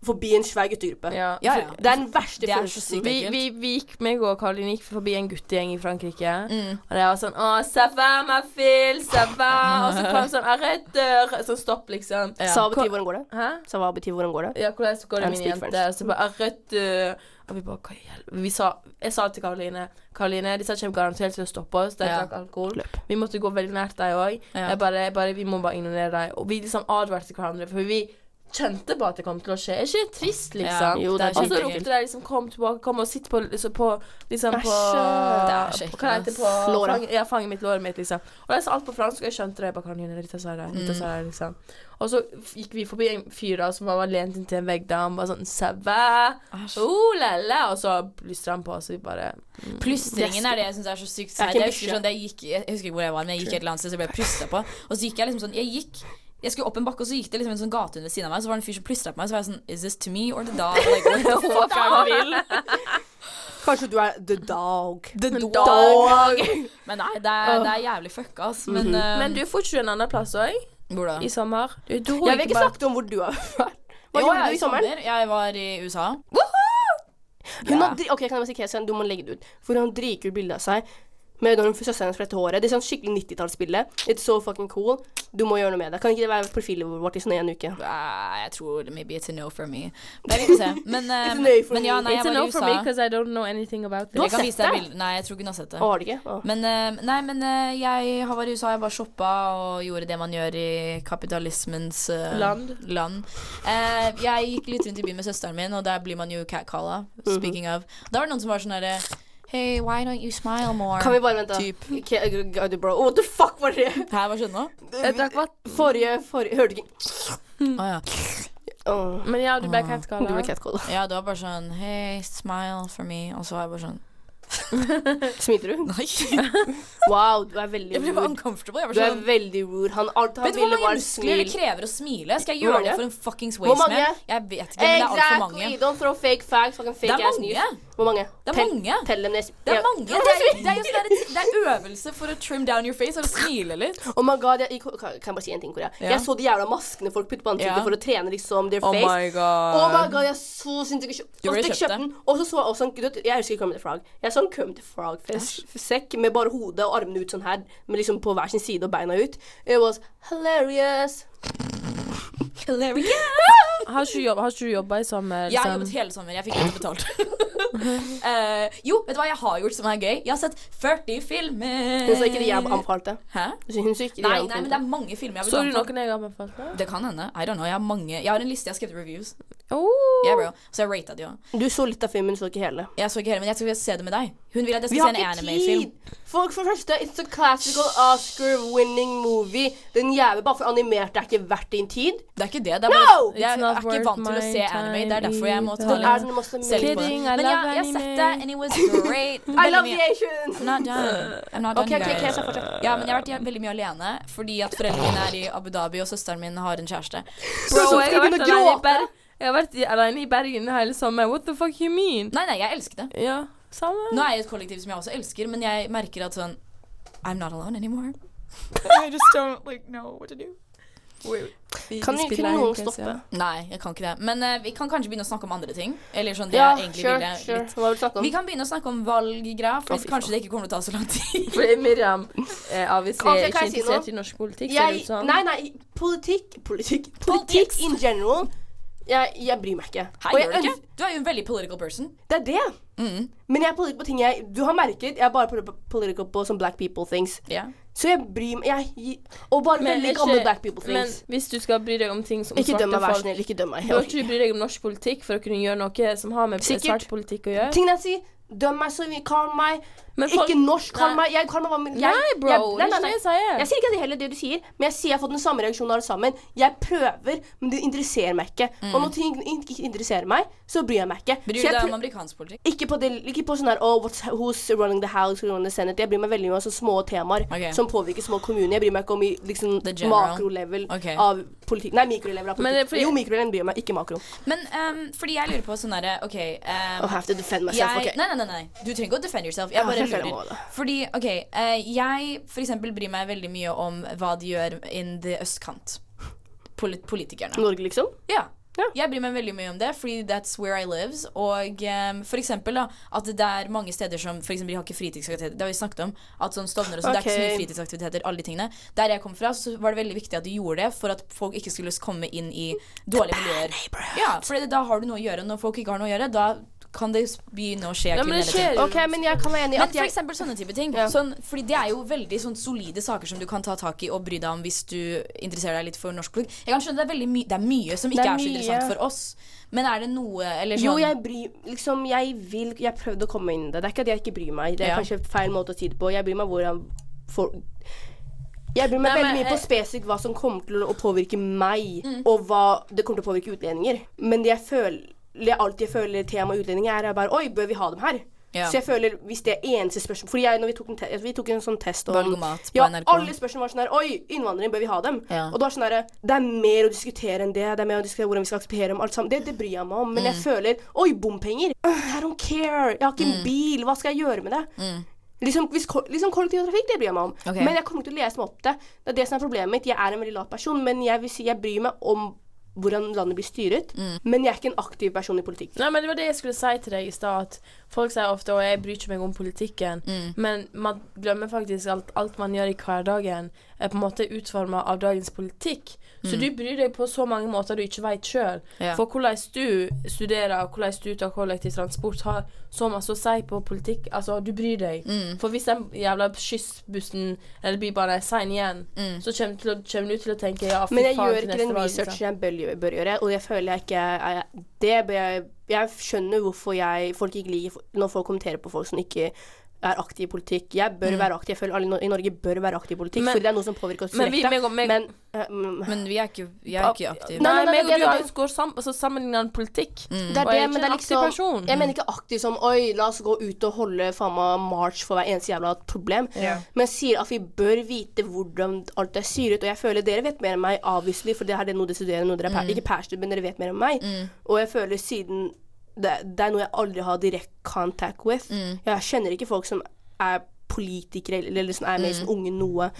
forbi en svær guttegruppe. Ja. Ja, ja. Det er den verste Det er så sykt. følelsen. Vi, vi, vi gikk, meg og Karoline gikk forbi en guttegjeng i Frankrike. Og de var sånn Å, ça va, ma fille, ça va? Og så kom sånn Arrête! Sånn stopp, liksom. Ja. Sa betyr hvordan går det? Hæ? Sa hva betyr hvordan går det? Ja, hvordan går det, Jeg min speak jente? French. Så bare Arrête! Og vi bare Hva i helvete? Vi sa Jeg sa til Karoline Karoline, disse kommer garantert til å stoppe oss. De Ja. drakk alkohol. Løp. Vi måtte gå veldig nært dem òg. Ja. Jeg bare, jeg bare Vi må bare ignorere dem. Og vi liksom advarte hverandre, for vi kjente på at det kom til å skje. Er ikke det trist, Ja. liksom? Jo, det er Og så kjempeekkelt. ropte de liksom 'kom tilbake', 'kom og sitt på, liksom, på liksom på, Æsj. Det er så ekkelt, på Hva heter det på ass. Låra. fang- Ja, fanget mitt, låret mitt, liksom. Og de sa alt på fransk, og jeg skjønte det. Jeg bare kan gjøre det, dette sa jeg, dette sa jeg, liksom. Og så f- gikk vi forbi en fyr da som var lent inntil en vegg, da han bare sånn 'ça va', oh la la, og så lystra han på, så vi bare Plystringen er det jeg syns er så sykt Det er sært. ikke Jeg, en husker sånn, da jeg, gikk- jeg husker ikke hvor jeg var, men jeg gikk et eller annet sted, så jeg ble plystra på. Og så gikk jeg liksom sånn Jeg gikk jeg skulle opp en bakke, og så gikk det liksom en sånn gatehund ved siden av meg. Så var det en fyr som plystra på meg. Så var jeg sånn Is this to me or the dog? Like, what the fuck are you doing? Kanskje du er the dog. The dog. Men nei, det er, det er jævlig fucka, ass. Men, eh, Mhm. Men du får ikke en annen plass òg, hvor da? i sommer? Du dro Jeg vil ikke snakke om hvor du har vært. Hva Jo, gjorde jeg er du i sommeren? Jeg var i USA. Hun Ja. har dri ok, kan jeg bare si Kesian, du må legge det ut. For hun driker ut bilde av seg med når hun søsteren hennes fletter håret. Det er sånn skikkelig 90-tallsbilde. It's so fucking cool. Du må gjøre noe med det. Kan ikke det være profilen vårt i sånn en uke? Eh, jeg tror maybe it's a no for me. Men vi får se. Men, eh, It's a no for men me. ja, nei, jeg It's a var i no for USA. me because I don't know anything about Jeg this. kan vise deg det? bilder. Nei, jeg tror ikke hun har sett det. Å, har det ikke? Å. Men, eh, nei, men eh, jeg har vært i USA, jeg bare shoppa og gjorde det man gjør i kapitalismens eh, Land. land. Eh, jeg gikk litt rundt i byen med søsteren min, og der blir man jo catcalla. Mhm. Speaking of. Da var det noen som var sånn herre Hey, why don't you smile more? Kan vi bare vente? Typ. Ok, uh, uh, bro. What the fuck var det? Hæ, hva skjønner du nå? Jeg drakk vann. Forrige, forrige Hørte ikke Mm. Å ja. Åh, Men ja, du ble Du ble catcalla. catcalla. ja, det var bare sånn Hey, smile for me. Og så var jeg bare sånn Smilte du? Nei. Wow, du er veldig Jeg ble bare rude. uncomfortable. Jeg var Du er sånn veldig rude. Han, alt han Vet du hvor ville, mange var muskler det smil. krever å smile? Skal jeg Hvor gjøre mange? det for en fuckings Hvor mange? wasteman? Jeg vet ikke, men det er altfor mange. Exactly. Don't throw fake facts. Fucking Det fake er ass news. mange. Hvor mange? Det er Tell- mange. Tell dem det. Det er Ja. mange. Det er, det er jo sånn der, det er øvelse for å trim down your face og smile litt. Oh my god, jeg, jeg- kan jeg bare si en ting, Korea? Ja. Jeg så de jævla maskene folk putter på ansiktet Ja. for å trene liksom Oh their face. god. Oh my god, jeg så sinnssykt kjøpt. Du burde Jeg kjøpt kjøpte den. Og så så jeg også en du vet, Jeg husker Kermit the Frog. Jeg så en Kermit the Frog-sekk med bare hodet og armene ut sånn her, men liksom på hver sin side og beina ut. It was hilarious. Har ikke du jobb- har ikke du jobba i sommer? Jeg har liksom? jobbet hele sommer. Jeg fikk ikke betalt. Eh, jo, vet du hva jeg har gjort som er gøy? Jeg har sett 40 filmer. Hun så ikke det jeg anbefalte. Hæ? Hun så ikke det Nei, jeg nei, men det er mange filmer jeg har Så du blitt anbefalt. noen jeg anbefalte? Det kan hende. I don't know. Jeg har mange Jeg har en liste. Jeg har skrevet reviews. Oh. Yeah, bro. Så jeg rata de òg. Du så litt av filmen, så ikke hele. Jeg så ikke hele, men jeg tror jeg skal se det med deg. Hun vil at jeg Vi skal har se en ikke anime-film. tid! Folk, for det første, it's a classical Oscar-winning movie. Den jævla bare for animert er ikke verdt din tid. Det er ikke det. det er bare, No! It's jeg er not ikke vant til å worth se my anime. Det er time derfor jeg må ta either. Den er litt den masse selv på det. Kidding, I Men love ja, jeg har sett det, and anime. it was great. I Veldig love mye- the Asians! I'm not done. I'm not done, Ok, ok, you ok, guys. så fortsett. Ja, men jeg har vært jæv- veldig mye alene fordi at foreldrene mine er i Abu Dhabi, og søsteren min har en kjæreste. Bro, Så jeg skal har vi vært begynne å alene i gråte? Bergen. Jeg har vært i- alene i Bergen hele sommer. What the fuck you mean? Nei, nei, jeg elsker det. Ja, samme. Nå er jeg i et kollektiv som jeg også elsker, men jeg merker at sånn I'm not alone anymore. I just don't like know what to do. Kan, spiller kan her, noen Lucas, stoppe? Nei, jeg kan ikke det. Men eh, vi kan kanskje begynne å snakke om andre ting. Eller sånn det Ja, jeg egentlig sure, ville. sure. litt. Hva vil du snakke om? Vi kan begynne å snakke om valggreier, for Å, fy kanskje det ikke kommer til å ta så lang tid. Fordi Miriam eh, obviously Ok, kan er ikke jeg si interessert noe? i norsk politikk, sånn. ser det Jeg, ut som. nei, nei, politikk Politikk Politikk Politics. in general. Jeg, jeg bryr meg ikke. Hei, Og gjør du jeg, ikke? Du er jo en veldig political person. øns- Det er det. Mm, Men jeg er political på ting jeg Du har merket, jeg er bare poli- political på sånn black people things. ja. Så jeg bryr meg jeg, Og bare Men veldig ikke- gamle black people Men things. hvis du skal bry deg om ting som ikke døm svarte meg, vær så folk snill. Ikke døm meg. Bør ikke du bry deg om norsk politikk for å kunne gjøre noe som har med Sikkert. svart politikk å gjøre? Tingene jeg sier, døm meg så mye. Kall meg Men folk- Ikke norsk, kall Nei. meg Jeg kall meg hva men jeg, Nei, bro, jeg- det er ikke det jeg sier. Jeg sier ikke at det er heller det du sier, men jeg sier jeg har fått den samme reaksjonen alle sammen. Jeg prøver, men det interesserer meg ikke. Mm. Og når ting ikke interesserer meg, så bryr jeg meg ikke. Bryr du Så jeg deg prø- om amerikansk politikk? ikke på, det, ikke på sånn her oh, what's, Who's running the house, who's running the senate Jeg bryr meg veldig mye om sånne små temaer Ok. som påvirker små kommuner. Jeg bryr meg ikke om i liksom, The general. makrolevel Ok. av politikk. Nei, mikrolevel av Men det er politikk. fordi- Jo, mikrolevel bryr jeg meg, ikke makro. Men ehm, fordi jeg lurer på sånn derre OK ehm, I have to defend myself. jeg, ok. nei, nei, nei, nei. Du trenger ikke å defend yourself. Jeg Ja, bare jeg føler jeg må lurer. det. Fordi, ok, eh, jeg for eksempel bryr meg veldig mye om hva de gjør in the østkant. Polit politikerne. Norge, liksom. Ja. Ja. Jeg bryr meg veldig mye om det, fordi that's where I lives. Og eh, for eksempel da, at det er mange steder som for eksempel, de har ikke fritidsaktiviteter. Det har vi snakket om. At sånn Stovner og sånn, det er ikke så mye Ok. fritidsaktiviteter. alle de tingene. Der jeg kom fra, så var det veldig viktig at de gjorde det, for at folk ikke skulle komme inn i dårlige miljøer. Ja, for da har du noe å gjøre. Når folk ikke har noe å gjøre, da kan det begynne å skje Ja, men det kriminelle ting. skjer jo. OK, men jeg kan være enig i Men at for jeg eksempel sånne type ting. Sånn, fordi det er jo veldig sånn solide saker som du kan ta tak i og bry deg om hvis du interesserer deg litt for norsk politikk. Jeg kan skjønne det er veldig mye Det er mye som Det ikke er er, så mye. interessant for oss. Men er det noe eller sånn, Jo, jeg bryr Liksom, jeg vil Jeg prøvde å komme inn i det. Det er ikke at jeg ikke bryr meg. Det er Ja. kanskje feil måte å si det på. Jeg bryr meg hvordan for, Jeg bryr meg Nei, veldig men, mye på eh, spesifikt hva som kommer til å påvirke meg, Mm. og hva det kommer til å påvirke utlendinger. Men det jeg føler Alt jeg føler tema utlendinger er, er bare Oi, bør vi ha dem her? Ja. Så jeg føler, hvis det er eneste spørsmål Fordi jeg, når vi tok en, te vi tok en sånn test om Valg og mat på ja, NRK. Alle spørsmål var sånn her Oi, innvandrere, bør vi ha dem? Ja. Og det var sånn her Det er mer å diskutere enn det. Det er mer å diskutere hvordan vi skal akseptere dem. Alt sammen. Det, det bryr jeg meg om. Men Mm. jeg føler Oi, bompenger! Øh, I don't care! Jeg har ikke en bil! Hva skal jeg gjøre med det? Liksom, hvis, ko- liksom kollektivtrafikk, det bryr jeg meg om. Mm. Ok. Men jeg kommer ikke til å lese meg opp det. Det er det som er problemet mitt. Jeg er en veldig lat person, men jeg vil si jeg bryr meg om hvordan landet blir styret. Mm. Men jeg er ikke en aktiv person i politikk. Nei, men Det var det jeg skulle si til deg i stad. at Folk sier ofte at jeg bryr ikke meg om politikken. Mm. Men man glemmer faktisk at alt man gjør i hverdagen, er på en måte utforma av dagens politikk. Så du bryr deg på så mange måter du ikke veit sjøl. Mm. Ja. For hvordan du studerer, og hvordan du tar kollektivtransport, har så masse å si på politikk. Altså, du bryr deg. Mm. For hvis den jævla skyssbussen eller bybanen er sein igjen, Mm. så kommer du, til å, kommer du til å tenke ja, fy Men jeg faen, gjør til ikke neste den valg, liksom. researchen jeg bør, bør gjøre, og jeg føler jeg ikke er, er- Det bør jeg Jeg skjønner hvorfor jeg, folk ikke liker fo- når folk kommenterer på folk som ikke er aktive i politikk. Jeg bør være aktiv. Jeg føler alle i Nor- i Norge bør være aktive i politikk, Mm. Men- fordi det er noe som påvirker oss men vi- direkte. meg og- meg- Men, eh, mm, Men vi er ikke, jeg er ikke aktiv. Nei, Nei, nei, nei, meg og det du er- har jo skåret sam altså, sammenlignet politikk. Mm. det er Og jeg det, er men ikke det en er aktiv person. liksom Jeg mener ikke aktiv som Oi, la oss gå ut og holde faen meg march for hver eneste jævla problem. Men jeg sier at vi bør vite hvordan alt er syret. Og jeg føler dere vet mer enn meg, obviously, for det her er noe dere studerer. Noe dere er, per- Ikke perstudent, men dere vet mer enn meg. Og jeg føler siden det, det er noe jeg aldri har direkte contact with. Jeg kjenner ikke folk som er politikere eller liksom er med i sånn unge noe.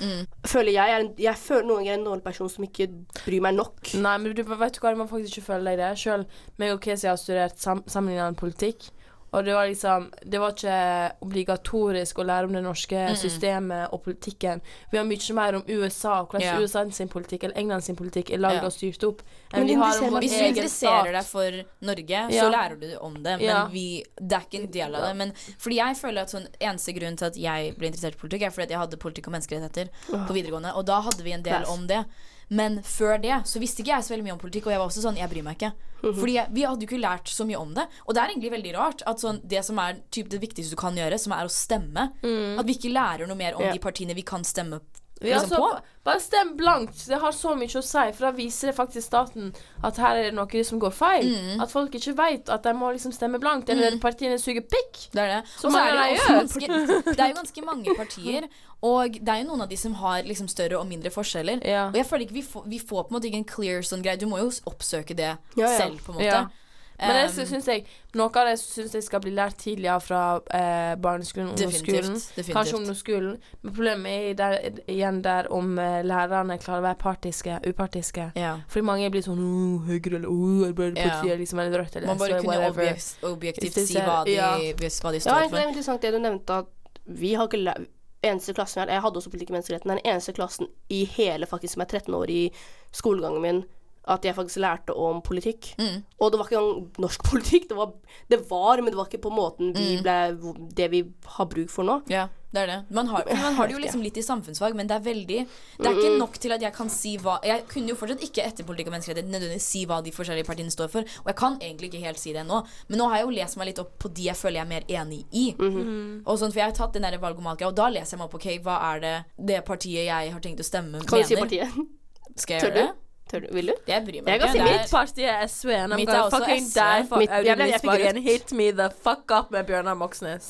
Føler jeg, er en, jeg føler noen ganger en dårlig person som ikke bryr meg nok. Nei, men du, vet du hva, du må faktisk ikke føle deg det. Selv meg og Kesi har studert sam sammenlignende politikk. Og det var liksom Det var ikke obligatorisk å lære om det norske systemet og politikken. Vi har mye mer om USA og hvordan Ja. USA sin politikk eller England sin politikk er lagd Ja. og styrt opp. Men Enn vi har interesserer om meg vår Hvis du egen interesserer deg stat. for Norge, så Ja. lærer du om det. Men Ja. vi, det er ikke en del av det. Men, fordi jeg føler at sånn, Eneste grunnen til at jeg ble interessert i politikk, er fordi at jeg hadde politikk og menneskerettigheter på videregående. Og da hadde vi en del Yes. om det. Men før det så visste ikke jeg så veldig mye om politikk, og jeg var også sånn, jeg bryr meg ikke. Fordi jeg, vi hadde jo ikke lært så mye om det. Og det er egentlig veldig rart at sånn, det som er typ, det viktigste du kan gjøre, som er å stemme, at vi ikke lærer noe mer om Ja. de partiene vi kan stemme Vi har liksom, så, på. bare stem blankt. Det har så mye å si, for da viser det faktisk staten at her er det noe som går feil. Mm. At folk ikke vet at de må liksom stemme blankt, eller partiene suger pikk. Det er det. Så Og så mange er det, jo også er ganske, det er jo ganske mange partier, og det er jo noen av de som har liksom større og mindre forskjeller. Ja. Og jeg føler ikke vi får, vi får på en måte ikke en clear sånn greie. Du må jo s- oppsøke det Ja, ja. selv, på en måte. Ja. Men det sy- Um, syns jeg Noe av det syns jeg skal bli lært tidligere fra eh, barneskolen og ungdomsskolen. Definitivt, definitivt. Kanskje ungdomsskolen. Men problemet er der, igjen der om eh, lærerne klarer å være partiske, upartiske. ja. Fordi mange blir sånn oh, Høyre eller oh, Arbeiderpartiet liksom, eller Rødt eller Man bare SV, kunne whatever. objekt, objektivt Hvis si det- hva de, ja. hvis- hva de Ja, står egentlig, det for. er interessant det du nevnte, at vi har ikke lært Eneste klassen jeg, jeg hadde også politikk og menneskeretten. Det er den eneste klassen i hele faktisk som er 13 år i skolegangen min, at jeg faktisk lærte om politikk. Mm. Og det var ikke engang norsk politikk. Det var, det var, men det var ikke på måten vi Mm. ble Det vi har bruk for nå. Ja, det er det. Man har, for man har det jo liksom litt i samfunnsfag, men det er veldig Det er ikke nok til at jeg kan si hva Jeg kunne jo fortsatt ikke etter politikk og menneskerettigheter nødvendigvis si hva de forskjellige partiene står for, og jeg kan egentlig ikke helt si det ennå, men nå har jeg jo lest meg litt opp på de jeg føler jeg er mer enig i. Mm-hmm. Og sånn, for jeg har tatt den der valgomatgreia, og da leser jeg meg opp OK, hva er det det partiet jeg har tenkt å stemme, Kan mener? du si partiet? Skal jeg Tør gjøre du? det? Tør du? Vil du? Jeg bryr Jeg meg kan si Det er- Mitt parti er SV. and I'm Mitt er gonna også fucking SV. die for Mitt- jeg Audun ble- jeg fikk Lysbakken. rødt. Hit me the fuck up med Bjørnar Moxnes.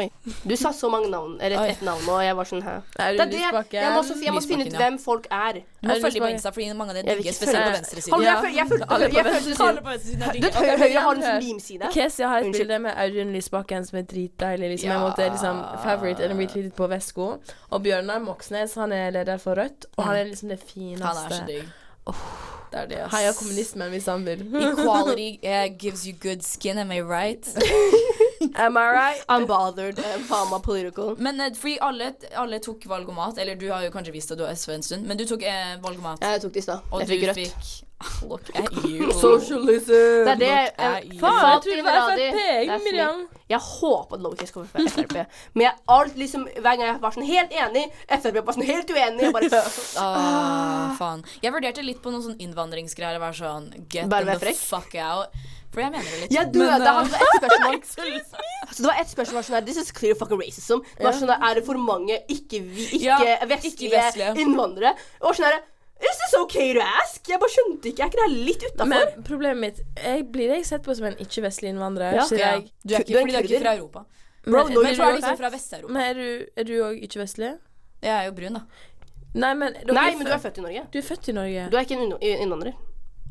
Oi. Du sa så mange navn, eller Oi. ett navn, og jeg var sånn hæ. Det Audun er det. Jeg må, også, jeg må Lysbakken, finne ut ja. hvem folk er. Du må følge Audun på Lysbakken. Insta, fordi mange av Jeg dem vil digger, ikke spesielt på følge- Hold, venstresiden. Ja. jeg, føl- jeg fulgte Alle på jeg venstre fulgte- siden. Alle på venstresiden er Du, digger. Høyre høyre har en sånn Høyre. limside. Kesi har et Unnskyld. bilde med Audun Lysbakken som er dritdeilig. Liksom. Jeg Ja. måtte liksom favorite eller retweetet på Vesko. Og Bjørnar Moxnes, han er leder for Rødt, og han er liksom det Han er så fineste. digg. Det er det, ass. Heia kommunismen hvis han vil. Equality eh, gives you good skin, am I right? Am I right? I'm bothered. eh, Faen meg political. Men eh, fordi alle, alle tok valgomat, eller du har jo kanskje visst at du har SV en stund, men du tok eh, valgomat. Jeg tok det i stad. og Jeg fikk du rødt. fikk Look at you. Det Socialism! er det jeg, Look at jeg, you. Faen, jeg trodde det var Fatima Radi. Frp, Det jeg, er Miriam. fint. Jeg håpet Lowcase kom fra Frp. Men jeg, alt, liksom, hver gang jeg var sånn helt enig, Frp var sånn helt uenig. Jeg bare Ah, faen. Jeg vurderte litt på noen sånn innvandringsgreier og være sånn Get Bare them vær the frekk. fuck out. For jeg mener det litt. Jeg døde Men, eh, av et spørsmål. Så det var ett spørsmål sånn her This is clear fucking racism. Det var sånn her, Er det for mange Ja, ikke-vestlige ikke vestlige vestlige. innvandrere? Og sånn her Is this okay to ask? Jeg bare skjønte ikke. Er ikke det her litt utafor? Men problemet mitt jeg, Blir jeg sett på som en ikke-vestlig innvandrer? Ja. Så Ja. jeg, Du er ikke, Du er fordi du er ikke kurder. fra Europa. Bro, men- nå Men gjør du er du liksom det. fra Vest-Europa. men er du, er du òg ikke-vestlig? Jeg er jo brun, da. Nei, men dere Nei, men du er født- født i Norge. Du er født i Norge. Du er ikke en inno- innvandrer.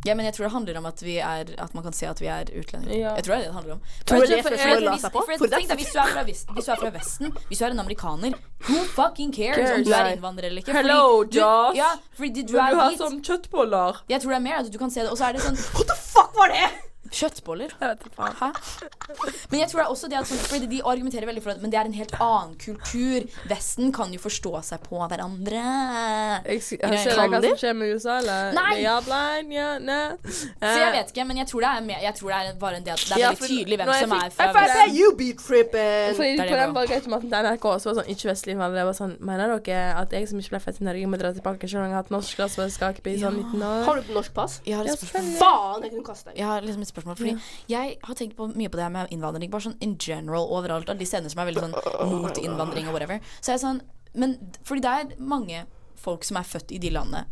Ja, men jeg tror det handler om at, vi er, at man kan se at vi er utlendinger. Ja. Jeg tror det er det det handler om. Tror du For- det for- første for- man la hvis- seg på? for- For det er tenk deg, hvis, du er fra vest, hvis du er fra Vesten, hvis du er en amerikaner, who fucking cares om Cares. du er Nei. innvandrer eller ikke? Hello, Fordi du- Joss. Ja, fordi du Du er har hvit. sånn kjøttboller. Jeg tror det er mer at du kan se det. Og så er det sånn What the fuck var det?! kjøttboller. Jeg vet ikke faen. Hæ? Men jeg tror det er også det at sånn, fordi de argumenterer veldig for at Men det er en helt annen kultur. Vesten kan jo forstå seg på hverandre. Jeg, s- Nei, jeg ser kan hva de? som skjer med USA, eller? Nei! Ja, blind, ja, ne. Eh, Så jeg vet ikke, men jeg tror det er, mer, jeg tror det er bare en del Det er Ja, for veldig tydelig hvem når som jeg fikk- er fra jeg fikk- Vesten. Frp, you be trippin'! Fordi det er på bra. den valgautomaten til NRK så var det sånn ikke-vestlig innvandrere. Jeg var sånn Mener dere at jeg som ikke ble født i Norge, må dra tilbake selv om jeg har hatt norsk glassbøskake i sånn 19 år? Har du et norsk pass? Jeg har Ja, et spørsmål. selvfølgelig. Faen, jeg kunne kaste deg. Jeg har liksom et spørsmål, fordi jeg har tenkt på mye på det her med innvandring. Bare sånn in general overalt. Alle de stedene som er veldig sånn mot innvandring og whatever. Så jeg er sånn Men fordi det er mange folk som er født i de landene.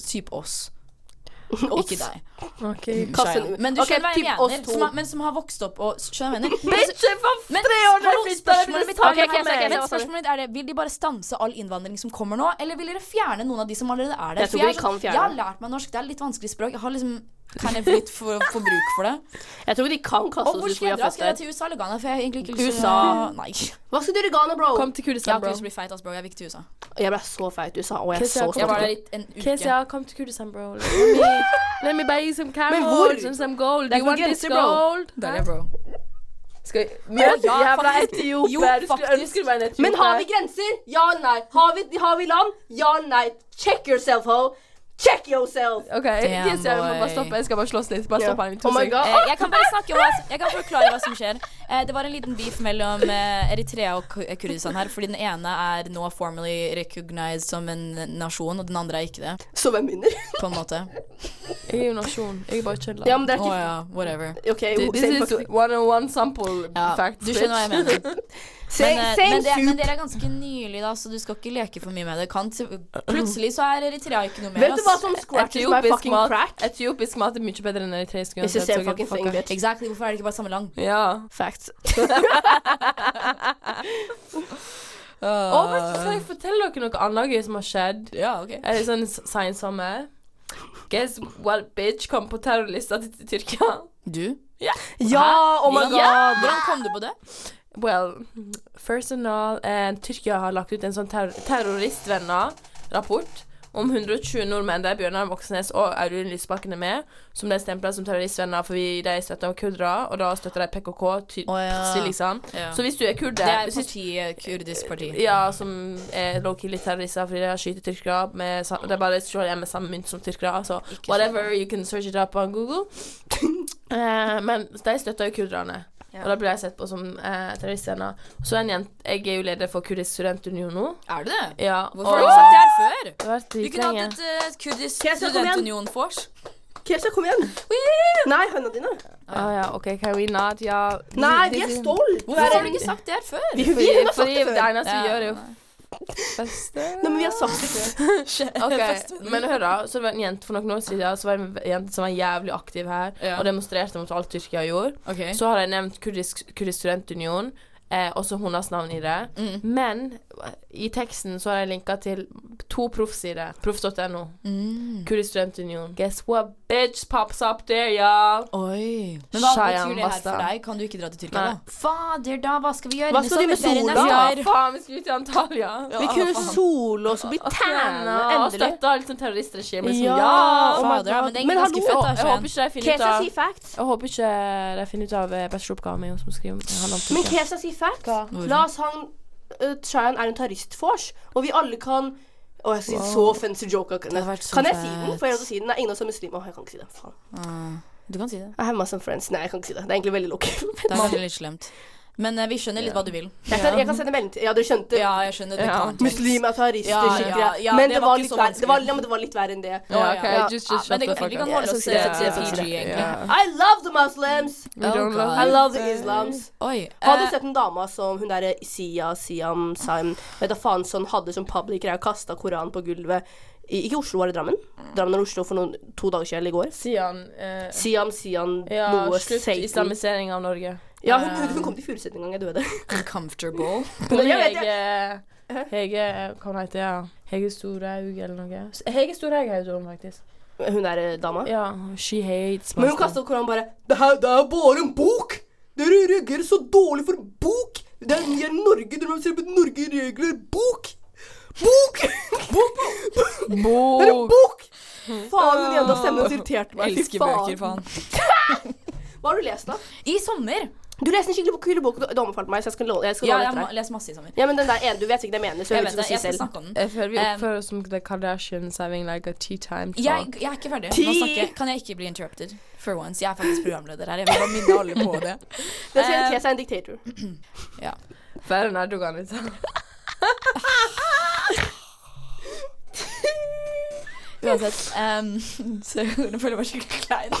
Typ oss. Ikke deg. Ok. Kast en Shia. ut. Men du Ok, skjønner hva jeg typ oss mener. to. Som har, men som har vokst opp og Skjønner hva jeg mener? Bitch, jeg var Men tre år da hallo, jeg flytta! spørsmålet mitt Ok, ok, ok, ok, Men hva sa du? spørsmålet mitt er det Vil de bare stanse all innvandring som kommer nå, eller vil dere fjerne noen av de som allerede er der? Jeg tror For vi er kan sånn- fjerne. Jeg har lært meg norsk, det er litt vanskelig språk. Jeg har liksom kind of litt for, for bruk for det. Jeg tror ikke de kan kaste Og oss hvor hvis skal vi jeg har dra? Skal jeg dra fått det. til USA eller Ghana? For jeg har egentlig ikke lyst til USA. å- Nei. Jeg Hva skal du gjøre i Ghana, bro? Kom til har Kurdistan, ikke bro. lyst til å bli feit, ass, bro. Jeg vil ikke til USA. Jeg ble så feit i USA, og jeg er Chris, så jeg kom Jeg stolt. var til- der i en uke. KCR, come to Kurdistan, bro. Let me, let me buy you some hvor? camels and some gold. Det er You want this konkurranse, bro. gold? Det er Hæ? det, bro. Skal vi møte ja, jævla faktisk. Jo, etiopier? Du skulle faktisk. ønske du var en etiopier. Men har vi grenser? Ja eller nei? Har vi, har vi land? Ja eller nei? Check yourself, ho! Check yourself! OK, Damn, yes, jeg må bare boy. stoppe. Jeg skal bare slåss litt. Bare stopp han i to Oh my sekunder. god. Eh, jeg kan bare snakke om hva, jeg kan forklare hva som skjer. Eh, det var en liten beef mellom eh, Eritrea og Ku- Kurdistan her, fordi den ene er nå formally recognized som en nasjon, og den andre er ikke det, Så hvem vinner? på en måte. Jeg er jo nasjon. Jeg er bare kødda. Ja, men det er Å ikke ja, whatever. OK, ho- This say is fuck- one on one sample Ja, facts, du skjønner hva jeg bitch. mener. say- Men, eh, say men, det, men soup. dere er ganske nylig, da, så du skal ikke leke for mye med det. Kan, til- plutselig så er Eritrea ikke noe mer. Vet du hva ass. som scratches my Etiopisk fucking mat. crack? Etiopisk mat er mye bedre enn eritreisk. It's the uansett, same så fucking get the thing, fuck out. bitch. Exactly, hvorfor er det ikke bare samme land? Ja. Facts. Og vet du, skal jeg fortelle dere noe annet gøy som har skjedd? Ah. Ja, ok. Er det sånn seinsommer? Guess what bitch kom på terrorlista til til Tyrkia? Du? Ja, oh my Hvordan- god! Hvordan kom du på det? Well, first and all, eh, Tyrkia har lagt ut en sånn terror terroristvenner-rapport om 120 nordmenn der Bjørnar Moxnes og Audun Lysbakken er med, som de stempler som terroristvenner fordi de støtter kurdere, og da støtter de PKK ty Å, ja. plutselig, liksom. Ja. Så hvis du er kurder Det er et hvis- parti, eh, kurdisk parti. Ja, som er low-key litt terrorister fordi de har skyter tyrkere med sa- De bare slår igjen med samme mynt som tyrkere. Altså, whatever, you can search it up on Google. Eh, men de støtter jo kurderne. Og da blir de sett på som eh, terrorister. nå. Så en jente Jeg er jo leder for Kurdisk studentunion nå. Er du det? Ja, Hvorfor har du sagt det her før? det har vært Vi kunne dritlenge. hatt et eh, kurdisk Kan jeg se- kom igjen? studentunion-vors. Kesha, kom igjen. Nei, høna dine. Å ja, OK, can we not? Ja. Nei, vi er stolt. Hvorfor har du ikke sagt det her før? Vi, vi, Fordi, har sagt fordi det det før. eneste vi Ja. gjør, er jo feste Nei, men vi har sagt det før. Ok, men hør da, så det var en jente for noen år siden Så var det en jente som var jævlig aktiv her Ja. Og demonstrerte mot alt Tyrkia gjorde Ok. Så har jeg nevnt Kurdisk, Kurdisk Studentunion eh, Også hennes navn i det Mm, Men i teksten så har jeg linka til To proffsider Proff.no Mm. Kurdisk Studentunion Guess what bitch pops up there, y'all Oi. Men hva betyr Shayan det her Basta. for deg? Kan du ikke dra til Tyrkia, Nei. da? Fader, da, hva skal vi gjøre? Hva skal Med de med sommerferien sola? neste Ja, år? faen, vi skulle ut til Antalya Vi kunne sole oss og bli tanna, Og endelig. støtte litt sånn terroristregimer som, Ja, ja oh Fader, my ja, God. men det er Men ganske hallo, fett, da, Jeg håper Shayan. ikke de finner ut Kesha av sier facts. Jeg håper ikke de finner ut av eh, bacheloroppgaven min som skriver handler om Men Tyrkia. Kesha sier facts. Hva? Hvorfor? La oss han uh, Shayan er en terroristfors, og vi alle kan Å, jeg sier så offensive joke. Kan hadde vært så jeg si den? fett. For jeg vil si den. Det er ingen som er muslim. Å, jeg kan ikke si det. Faen. Ah, Du kan si det. I have my some friends. Nei, jeg kan ikke si det. Det er egentlig veldig lukket. Det er kanskje litt slemt. Men eh, vi skjønner litt hva du vil. Jeg kan, jeg kan sende melding til Ja, dere skjønte. Ja, jeg skjønner. Det Ja. kan Muslim er terrorister, Ja, skikkelig. ja, ja, men det det, var var ikke litt så verre, det, var, vanskelig. ja, men det var litt verre enn det. Ja, Ja, ja. ok, just, Ja, just men shut det- the fuck vi kan up. holde oss Jeg til- synes til det- PG, egentlig. ja. I love the Muslims! We don't Oh, love- God. I love the Islams. Oi. Har du eh, sett en dame som hun derre Sia, Siam, Saim Vet da faen sånn hadde som public greie og kasta Koranen på gulvet i Ikke i Oslo, var det Drammen? Drammen og Oslo for noen, to dager siden eller i går. Sian eh, Siam, Sian, Ja, noe slutt Satan. islamisering av Norge. Ja, hun, hun, hun kom til Furuset en gang, jeg døde. Uncomfortable. Men jeg vet Hege Hege eh, Hva hun heter ja. Hege Storhaug eller noe. S- Hege Storhaug heter hun faktisk. Hun der eh, dama. Ja, she hates Men hun master. kastet koranen bare det her, det er bare en bok! Dere reagerer så dårlig for bok! Det er, vi er Norge, dere må se på Norge regler. Bok! Bok! Bok! Det er en Bok! bok! Faen, den jævla stemmen hennes irriterte meg. Fy Elsker bøker, faen. Hva har du lest, da? I sommer! Du leste en skikkelig kul bok du anbefalte meg, så jeg skal låne jeg skal Ja, låne jeg etter har deg. lest masse i sommer. Ja, men den der ene, du vet ikke det jeg mener, så jeg Jeg vet vet det, ikke hva jeg jeg skal skal si selv. snakke om den. Jeg føler vi Um, oppfører oss som The Kardashians having like a tea time Jeg, talk. jeg er ikke ferdig. Ti! Nå snakker jeg. Kan jeg ikke bli interrupted? For once. Jeg er faktisk programleder her. Jeg vil bare minne alle på det. Den sier Eh, Tess er en dictator. Færre enn Erdogan, liksom. Eh, Uansett. ehm, så nå føler jeg meg skikkelig klein.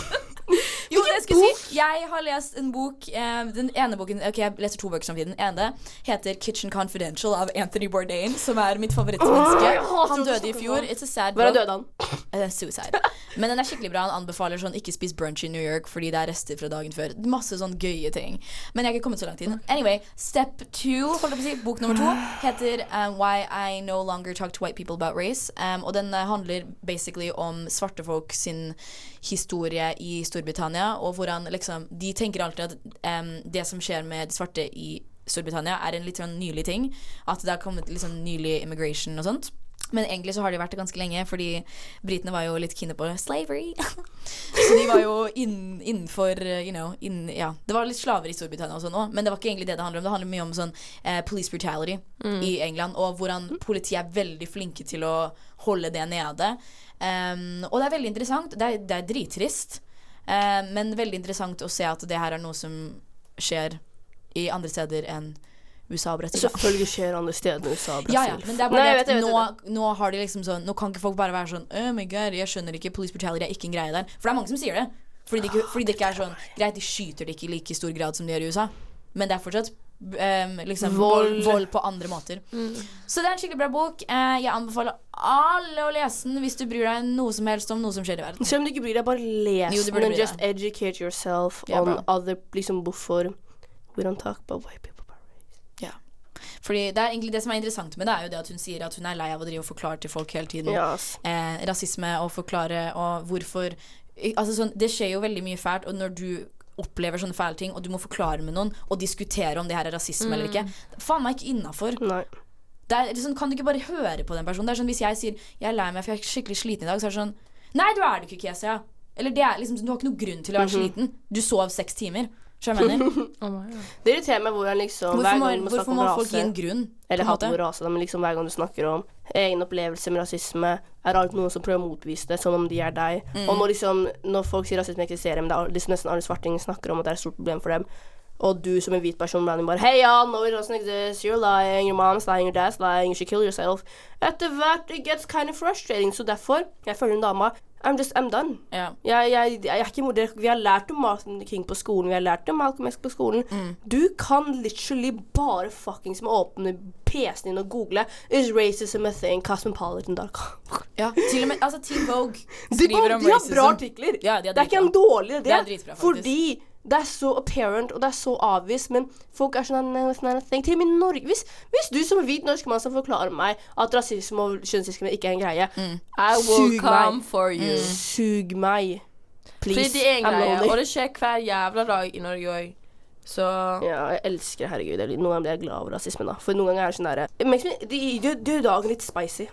Jo, det jeg skulle si Jeg har lest en bok eh, Den ene boken Ok, jeg leser to bøker samtidig. Den ene heter 'Kitchen Confidential' av Anthony Bourdain, som er mitt Åh, jeg favorittmenneske. hater Han at du døde i snakker fjor. sånn. It's a sad Bare book. døde han. Eh, Suicide. Men den er skikkelig bra. Han anbefaler sånn ikke spis brunch i New York fordi det er rester fra dagen før. Masse sånn gøye ting. Men jeg har ikke kommet så langt i den. Anyway, step two, holdt jeg på å si, bok nummer to, heter um, Why I No Longer Talk to White People About Race. Um, og den eh, handler basically om svarte folk sin historie i Storbritannia, og hvordan liksom De tenker alltid at um, det som skjer med de svarte i Storbritannia, er en litt sånn nylig ting. At det har kommet liksom nylig immigration og sånt. Men egentlig så har de vært det ganske lenge, fordi britene var jo litt kine på slavery. så de var jo inn, innenfor eh, you know, inn, ja. Det var litt slaver i Storbritannia og sånn òg, men det var ikke egentlig det det handler om. Det handler mye om sånn eh, police brutality i England, og hvordan politiet er veldig flinke til å holde det nede. Um, og det er veldig interessant. Det er, det er drittrist, eh, men veldig interessant å se at det her er noe som skjer i andre steder enn USA og Brasil. Selvfølgelig skjer andre steder i USA og Ja, ja, men det er bare Nei, jeg det at vet det, jeg nå, vet det. nå har de liksom sånn Nå kan ikke folk bare være sånn Oh my god, jeg skjønner ikke Police brutality er ikke en greie der For det er mange som sier det Fordi det ikke, fordi det ikke er sånn Greit, de skyter det ikke i like stor grad som de gjør i USA Men det er fortsatt ehm, liksom, Vold. vold. Mm. på andre måter Så det er en skikkelig bra bok Eh, Jeg anbefaler alle å lese den Hvis du bryr deg noe som helst om noe som skjer i verden Selv om du ikke bryr deg, bare les Jo, du den. burde and bry Just educate yourself Ja, on bra. other Liksom hvorfor We don't talk about white people. Fordi det er egentlig det som er interessant med det Er jo det at hun sier at hun er lei av å drive og forklare til folk hele tiden Ja, ass. eh, rasisme og forklare og hvorfor I- Altså sånn, Det skjer jo veldig mye fælt, og når du opplever sånne fæle ting, og du må forklare med noen og diskutere om det her er rasisme eller ikke, Mm. faen meg ikke innafor. Nei. Liksom, kan du ikke bare høre på den personen? Det er sånn, Hvis jeg sier 'jeg er lei meg, for jeg er skikkelig sliten i dag', så er det sånn 'Nei, du er det ikke, Kesia'. Eller det er liksom, du har ikke noen grunn til å være Mhm. sliten. Du sov seks timer. Skjønner du hva jeg mener? Oh my god. Det irriterer meg hvordan Hvorfor liksom må, hver gang man hvorfor snakker om må folk gi rase en grunn? på Eller en hater måte? vår rase, da, men liksom hver gang du snakker om egen opplevelse med rasisme, er det alltid noen som prøver å motbevise det, som om de er deg. Mm. Og når, liksom, når folk sier rasisme eksisterer, men det er al- liksom nesten alle svartinger snakker om at det er et stort problem for dem, og du som en hvit person blanding bare Hei, ja, no, it doesn't exist. You're lying. Your mom's lying. Your dad's lying. You should kill yourself. Etter hvert it gets kind of frustrating. Så derfor, jeg følger en dama. I'm just I'm done. Ja. Jeg, jeg, jeg er ikke moder. Vi har lært om Martin Luther King på skolen. Vi har lært om Malcolm X på skolen. Mm. Du kan literally bare fuckings med å åpne PC-en din og google Is racism a thing? Cosmopolitan dark. ja. Til og med altså, Team Vogue De, skriver bare, om de har bra racism. artikler. Ja, de er det er ikke dritbra. en dårlig idé. Det er dritbra, faktisk. fordi det er så apparent, og det er så avvist, men folk er sånn "Nei, it's not a thing." Til og med i Norge hvis, hvis du som hvit norsk mann skal forklare meg at rasisme og kjønnsdiskriminering ikke er en greie, I will Sug come. meg for you. Sug meg. Fordi Please. det er en I'm greie, lonely. og det skjer hver jævla dag i Norge òg. Så Ja, jeg elsker herregud. jeg- Noen ganger blir jeg glad over rasismen, da. For noen ganger er det sånn derre Det makes me- det gjør det gjør dagen litt spicy.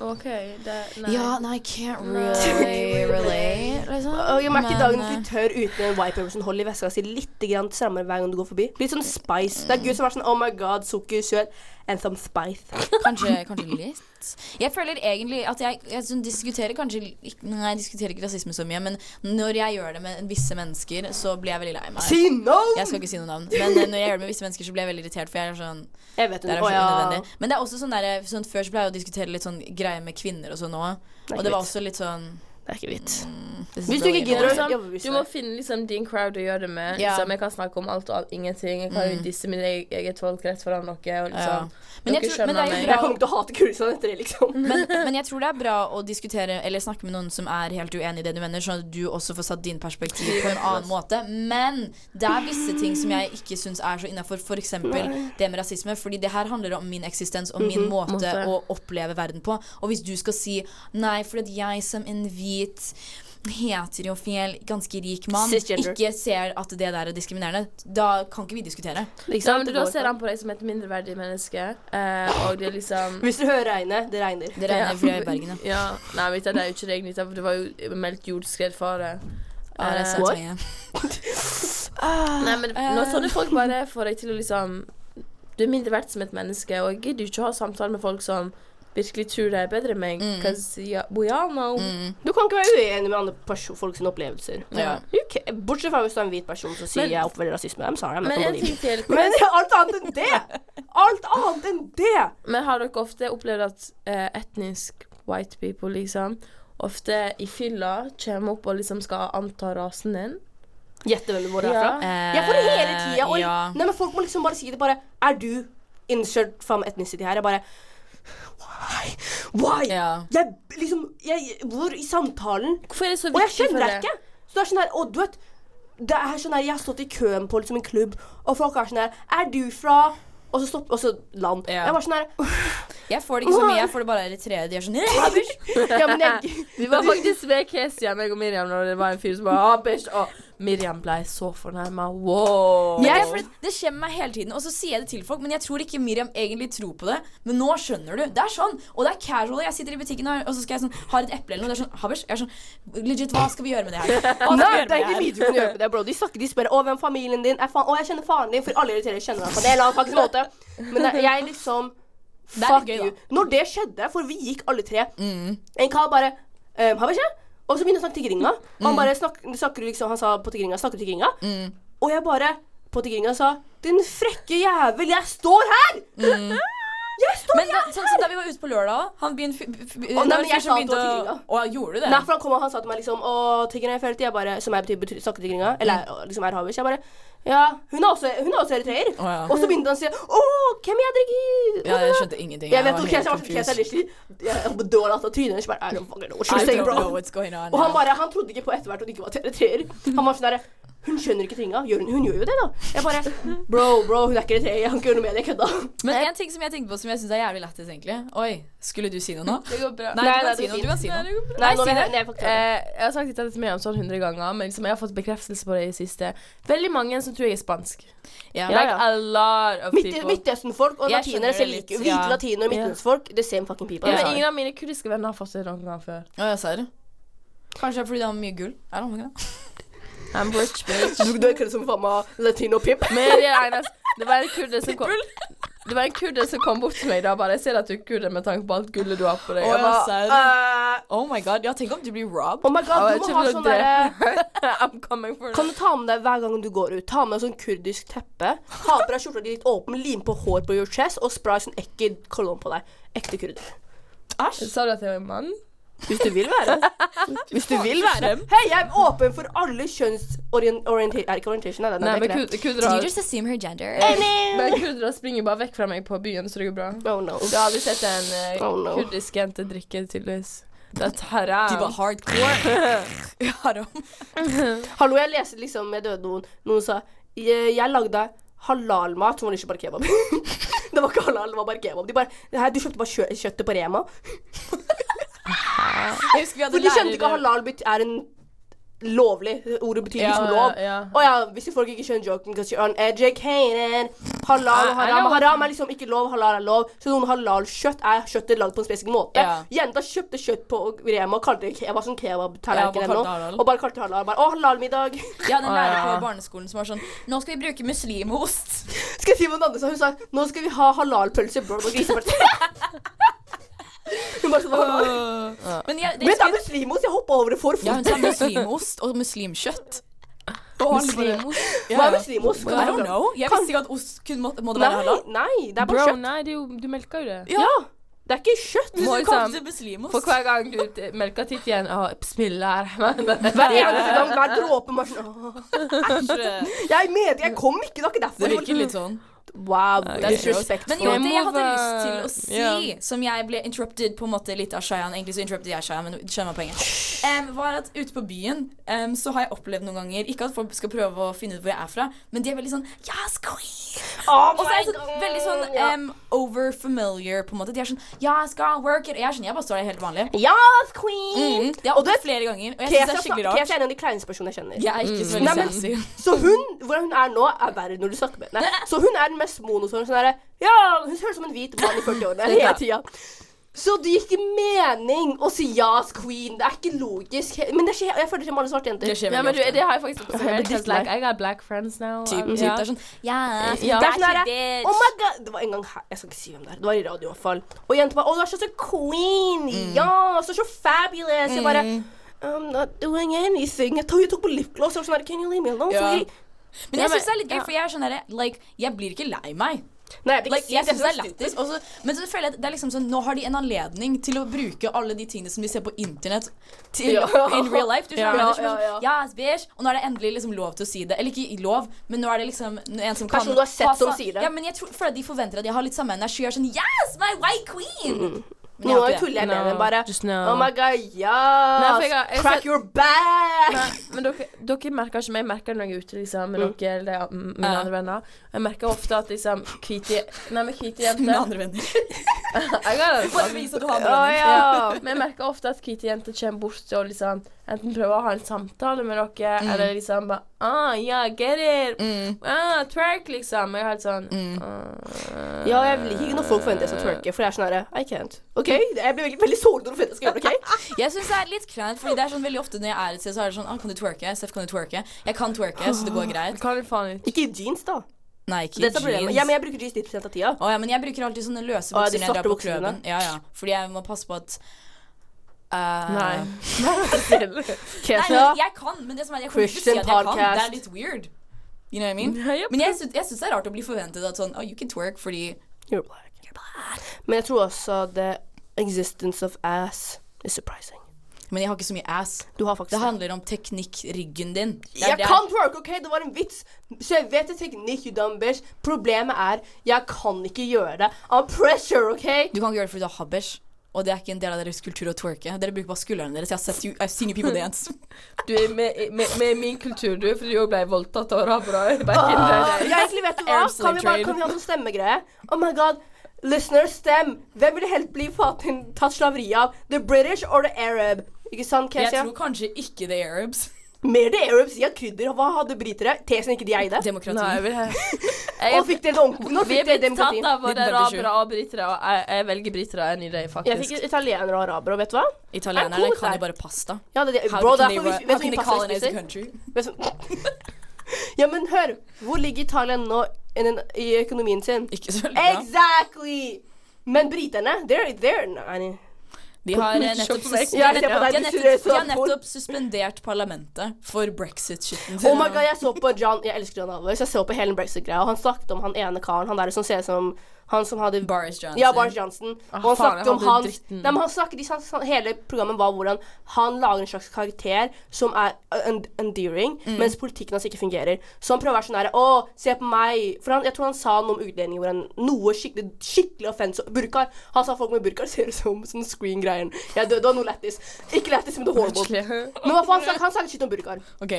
OK, det Ja, nei, I can't Nei. really relate, liksom. Og jeg merker Men, dagen eh, litt tørr uten en white paper som holder i veska si litt grann strammere hver gang du går forbi. Litt sånn spice. Det er gud som er sånn Oh my god, sukker, søt and some spice. Kanskje, kanskje litt. Jeg føler egentlig at jeg, jeg sånn diskuterer kanskje ikke- Nei, jeg diskuterer ikke rasisme så mye, men når jeg gjør det med visse mennesker, så blir jeg veldig lei meg. Si no! Jeg skal ikke si noe navn, men eh, når jeg gjør det med visse mennesker, så blir jeg veldig irritert, for jeg er sånn Jeg vet Det er hun. så Å ja. unødvendig. Men det er også sånn der, sånn, før så pleier jeg å diskutere litt sånn greier med kvinner og sånn òg, og er det var greit. også litt sånn Det er ikke vits. this is Hvis du really ikke Men gidder annoying. å liksom, jobbe bevisst du må finne liksom, din crowd å gjøre det med. Ja. Mm. Liksom, jeg kan snakke om alt og alt, ingenting. Jeg kan jo disse mitt eget- eget folk rett foran dere. Og Ja. liksom, Men jeg dere tror- men det skjønner er jo meg. Jeg kommer til å hate Kurdistan etter det, liksom. men, men jeg tror det er bra å diskutere eller snakke med noen som er helt uenig i det du mener, sånn at du også får satt din perspektiv på en annen måte. Men det er visse ting som jeg ikke syns er så innafor, f.eks. det med rasisme. Fordi det her handler om min Mhm, eksistens og min måte Måte. å oppleve verden på. Og hvis du skal si nei fordi at jeg som en hvit hvit, heterofil, ganske rik mann Cisgender. ikke ser at det der er diskriminerende, da kan ikke vi diskutere. Ja, men Det da går ser ikke. han på deg som et mindreverdig menneske, eh, og det er liksom Hvis du hører regnet, det regner. Det regner fordi jeg er i Bergen, ja. ja. Nei, vet du, det er jo ikke det egentlig, for det var jo meldt jordskredfare. Ja, det er Eh, sant, What? Maja. Nei, men Eh, når sånne folk bare får deg til å liksom Du er mindre verdt som et menneske, og jeg gidder jo ikke å ha samtaler med folk som virkelig tror de er bedre enn meg. Mm. Cause yeah, we all know. Mm. Du kan ikke være uenig med andre perso- folk sine opplevelser. Ja. You ca- Bortsett fra hvis du er en hvit person som sier Men- jeg opplever rasisme. I'm sorry, I'm not Men en gonna ting leave. til. Men alt annet enn det! Alt annet enn det! Men har dere ofte opplevd at eh, etnisk white people liksom ofte i fylla kommer opp og liksom skal anta rasen din? Gjette hvem du hvor er fra. Ja. Jeg får det hele tida. Og Eh, ja. nei, men folk må liksom bare si det. Bare Er du insert from ethnicity her? Jeg bare Why? Why? Ja. Jeg liksom jeg, Hvor i samtalen? Hvorfor er det så Og jeg viktig for skjønner deg deg? ikke. Så det er sånn her Og du vet det er sånn her, Jeg har stått i køen på liksom en klubb, og folk er sånn her Er du fra Og så stopp, og så land. Ja. Jeg var sånn her Jeg får det ikke så mye, jeg får det bare eritreere. De er sånn «Æsj!» Ja, men jeg Vi var faktisk ved Kesia, meg og Miriam, når det var en fyr som bare ah, bitch, og Miriam ble så fornærma. Wow. Men det, er fordi det skjer med meg hele tiden, og så sier jeg det til folk. Men jeg tror ikke Miriam egentlig tror på det. Men nå skjønner du. Det er sånn. Og det er casual. Jeg sitter i butikken og og så skal jeg sånn, har et eple eller noe. Det er sånn, Habers, jeg er sånn Legit, hva skal vi gjøre med det her? Hva skal vi Nei, gjøre det er med ikke mye du kan gjøre med det, bro. De snakker, de spør 'Å, hvem er familien din er faen Å, jeg kjenner faren din, for alle irriterer kjenner ham på en eller annen faktisk måte. Men det, jeg liksom Det er litt Fuck gøy, da. you. Når det skjedde, for vi gikk alle tre Mm. En kar bare ehm, Har vi ikke? Og så begynner han å snakke tigringa. Og han bare snak, snakker liksom Han sa på tigringa, snakker du tigringa? Mm. Og jeg bare på tigringa sa Din frekke jævel, jeg står her! Mm. Jeg står Men da, sånn som da vi var ute på lørdag òg Han begynte Å, nei, da var men det jeg som sa at det var begynte å- Å, gjorde du det? Nei, for han kom og han sa til meg liksom Å, tiggerne jeg følte jeg bare Som jeg betyr, betyr snakketigringa Eller Mm. er- liksom er havish Jeg bare Ja, hun er også, hun er også eritreer Å, ja. Og så begynte han å si Å, hvem jeg drikker ja, jeg skjønte ingenting. Jeg vet var ikke, helt jeg var confused. helt litt Jeg var dårlig at trynet hennes bare I don't fucking know what she's I saying, don't know bro what's going on. Og han bare Han trodde ikke på etter hvert Hun ikke var eritreer Han var sånn der Hun skjønner ikke tinga Gjør hun, hun gjør jo det da Jeg bare Bro, bro, hun er ikke eritreer Jeg kan ikke gjøre noe med det, jeg kødda Men en ting som jeg tenkte på som jeg syns er jævlig lættis, egentlig. Oi, skulle du si noe nå? Det går bra. Nei, du Nei, nei, kan si det noe. går fint. Du kan si Nei, noe. det går bra. Nei, si nå- det. Nei, faktisk ikke. Eh, jeg har sagt dette til meg om sånn 100 ganger, men liksom, jeg har fått bekreftelse på det i det siste. Veldig mange som tror jeg er spansk. Ja. Like a lot of Midt, people. Midtøsten-folk og Jeg skjønner latinere det ser litt, like ja. Hvite latinere og Ja. midtøstfolk, the same fucking people. Ja, I'm men sorry. ingen av mine kurdiske venner har fått det noen gang før. Å, jeg ser det. Kanskje det er fordi de har mye gull. Er det noe med det? I'm rich, bitch. Du, du er ikke som faen meg latino-pimp. Men det, er eneste, det var en kurder som kom Det var en kurder som kom bort til meg da og bare Jeg ser at du er kurder med tanke på alt gullet du har på deg. Å, Jeg ja, bare, serr. Uh, Oh my god, ja, tenk om du blir robbed. oh my god, «Å, du må ha jeg kommer til å sånn derre drepe. I'm coming for Kan du ta med deg hver gang du går ut? Ta med deg sånn kurdisk teppe. Ha på deg skjorta di litt åpen, lim på hår på your chest og spray sånn ekkel kolonn på deg. Ekte kurder. deg. Sa du at jeg var en mann? Hvis du vil være. Hvis du vil være. Hei, jeg er åpen for alle kjønnsorientering Er det ikke orientation? Nei, Nei, det er men ikke det. kud- kurdere Did you har- just assume her gender? men kurdere springer bare vekk fra meg på byen, så det går bra. Oh no. Du har aldri sett en eh, Oh, no. kurdisk jente drikke, tydeligvis. Det er De var haram. hardcore. Haram. Hallo, jeg leste liksom med døde noen. Noen sa jeg, jeg lagde halalmat som var ikke bare kebab. det var ikke halal, det var bare kebab. De bare Nei, du kjøpte bare kjø kjøttet på Rema. Jeg husker vi hadde For de skjønte ikke at lærere- halal bet- er en lovlig. Ordet betyr liksom lov. ja. Å ja, hvis folk ikke skjønner joken because you're uneducated. Halal og I- I know haram. what- Haram er liksom ikke lov, halal er lov. Så noen halal-kjøtt er kjøttet lagd på en spesifikk måte. Ja. Jenta kjøpte kjøtt på Rema og kalte det ke- var sånn Ja, bare kebab-tallerken kalte eller det halal. noe. Og bare kalte det halal. Bare, Å, halal-middag. Jeg hadde en Å, ja. lærer på barneskolen som var sånn Nå skal vi bruke muslimost. Skal jeg si hva den andre sa? Hun sa nå skal vi ha halalpølse bro, og griseparti. hun bare sånn halal. Men jeg, det Men det er husker, muslimos, jeg hoppa over det for fort. ja, hun sa muslimost og muslimkjøtt. Og alle bare- Ja, Hva er ja. muslimos? I don't know. Jeg visste ikke at ost kun må, måtte være Nei, halal. nei, det er bare Bro, kjøtt. nei, det er jo, du melker jo det. Ja. Ja, det er ikke kjøtt. Hvis Må du liksom- kalte det muslimos For hver gang du t- melker titt igjen Å, bismillah rahman. Hver eneste gang, hver dråpe bare sånn «Åh, Jeg mener, jeg kom ikke, det var ikke Det derfor. virker litt sånn. Wow, Nei, Det er gross. Men jo, disrespectful. det Jeg må jeg hadde være- lyst til å si, Ja. som jeg ble interrupted på en måte litt av Shayan Egentlig så interrupted jeg Shayan, men du skjønner poenget. Em, var at ute på byen em, så har jeg opplevd noen ganger Ikke at folk skal prøve å finne ut hvor jeg er fra, men de er veldig sånn Yes, queen! Oh Og så er jeg sånn, veldig sånn um, overfamiliar, på en måte. De er sånn Ja, jeg skal work it. Jeg er sånn, jeg bare står der helt vanlig. Yes, queen! Mm, det har Og du opplevd flere ganger, og jeg Kesha syns det er skikkelig snak- rart. Kesha er en av de kleineste personene jeg kjenner. Jeg er ikke så Nei, veldig men- sassy. Så hun, hvordan hun er nå, er verre når du snakker med henne. Så hun er den mest monosorne sånn derre Ja, hun høres ut som en hvit mann i 40-årene hele tida. Så det gir ikke mening å si yes, queen. Det er ikke logisk. he- Men det skjer, jeg føler det skjer med alle svarte jenter. Det skjer Ja, men du, veldig ofte. det har jeg faktisk observert. 'cause, drittlei. Like, I got black friends now. Typen Um, sitt ja. er sånn Ja, Ja. Det er sånn back der, bitch. Oh my god Det var en gang her Jeg skal ikke si hvem det er. Det var i radio i hvert fall. Og jenta bare Å, du er så så queen. Ja, så så fabulous. Jeg bare Mm. I'm not doing anything. Jeg tok, jeg tok på lipgloss og var sånn der, Can you leave me alone? Ja. Sorry. Men Ja, jeg men- syns det er litt gøy, ja. for jeg er sånn derre Like, jeg blir ikke lei meg. Nei, jeg vil ikke Like, si jeg det, synes det er så lættis. og så- Men så føler jeg at det er liksom sånn, nå har de en anledning til å bruke alle de tingene som de ser på internett, til Ja. in real life. Du skjønner Ja, det? Det er ja, ja. sånn, yes, bitch. Og nå er det endelig liksom lov til å si det. Eller ikke lov, men nå er det liksom en som kan Personen du har sett ha som sa- sier det. Ja, men jeg tror, føler at de forventer at jeg har litt samme energi. Jeg er sånn Yes, my white queen! Mm. Men jeg Noen har ganger ikke det. tuller jeg med No, henne bare. just no. Oh my god, Nei, for jeg yes! har- jeg Crack satt- your back! Nei, men dere, dere merker ikke meg. Jeg merker det når jeg er ute liksom, med dere eller det er m- mine Ja. andre venner. Jeg merker ofte at liksom hvite Nei, men hvite Med jenter andre venner. Jeg har- Bare vis at du har andre Å venner. ja. Men jeg merker ofte at hvite jenter kommer bort og liksom enten prøver å ha en samtale med dere, eller liksom bare ah, yeah, get it. Mm. Ah, twerk, liksom. Jeg er helt sånn Mm. ah. Ja, jeg liker ikke når folk forventer jeg skal twerke, for jeg er sånn herre I can't. OK? Jeg blir veldig, veldig såret når du forventer jeg skal gjøre det, OK? Jeg syns det er litt kleint, Fordi det er sånn veldig ofte når jeg er et sted, så er det sånn ah, Kan du twerke? Seff, kan du twerke? Jeg kan twerke, så det går greit. Hva er det faen ut? Ikke i jeans, da. Nei, ikke Dette er problemet. jeans. Ja, men jeg bruker jeans 90 av tida. Å ja, men jeg bruker alltid sånne løse Å, ja, bukser de når jeg drar svarte på buksene. klubben. Ja, ja. Fordi jeg må passe på at eh, Nei. Nei, Kesha. men jeg kan, men det som er, jeg kommer ikke til å si at Christian jeg kan. Det podcast. er litt weird. You know what I mean? Ja, ja. Men jeg syns, jeg syns det er rart å bli forventet at sånn Oh, you can twerk fordi You're black. Men jeg tror også the existence of ass is surprising. Men jeg har ikke så mye ass. Du har faktisk Det handler om teknikk, ryggen din. Det er Jeg der- kan twerk, OK? Det var en vits. Så jeg vet det er teknikk, you dumb bitch. Problemet er, jeg kan ikke gjøre det. I'm pressure, OK? Du kan ikke gjøre det fordi du har habbers. Og det er ikke en del av deres kultur å twerke. Dere bruker bare skuldrene deres. Jeg har sett you, I've seen you people dance. Du er med, med, med min kultur, du, fordi du òg ble voldtatt av arabere back in the Ah, day. ja, egentlig vet du hva. Arab slave Kan vi, bare, trade. kan vi ha sånn stemmegreie? Oh my god. Listener, stem. Hvem ville helt bli fatin, tatt slaveri av? The British or the Arab? Ikke sant, Jeg Kesia? tror kanje ikke the Arabs. Mer the Arabs. De har krydder. og Hva hadde britere? Tesen ikke de eide? Demokrati. Nei, vi er, Og fikk dere ordentlig Nå vi fikk er dere blitt demokrati. tatt av både 1947. arabere og britere, og jeg, jeg velger britere enn i dag, Jeg fikk faktisk. italiener og araber, og vet du hva? Italienerne cool kan der. jo bare pasta. Ja, det, det, How bro, can derfor they, vi, ru- how vet du can hvilken they pasta vi colonize the spiser? country? Vet du- ja, men hør. Hvor ligger Italia nå i den- i økonomien sin? Ikke så veldig bra. Exactly! Men briterne, they're, they're no, I mean, De har eh, nettopp, Shop meg. sus- de har Jeg ser på nettopp, de har deg, du nettopp, ser de så har nettopp suspendert parlamentet for brexit-skitten Oh my god, jeg så på John Jeg elsker John Alvarez. Jeg så på hele Brexit-greia, og han snakket om han ene karen, han der som ser ut som Han som hadde Boris Johnson. Ja, Boris Johnson. Ah, og han faen, snakket jeg om hadde hans dritten. Nei, men han snakket, de, han, Hele programmet var hvordan han lager en slags karakter som er en- endearing, Mm. mens politikken hans ikke fungerer. Så han prøver å være sånn her Å, se på meg. For han, jeg tror han sa noe om utlendinger hvor han Noe skikkelig skikkelig offensive. Burkaer. Han sa folk med burkaer ser ut som sånn screen-greien. Jeg døde av noe lættis. Ikke lættis, men det var horrible. Men hva faen, han snakket- han snakket skitt om burkaer. Ok.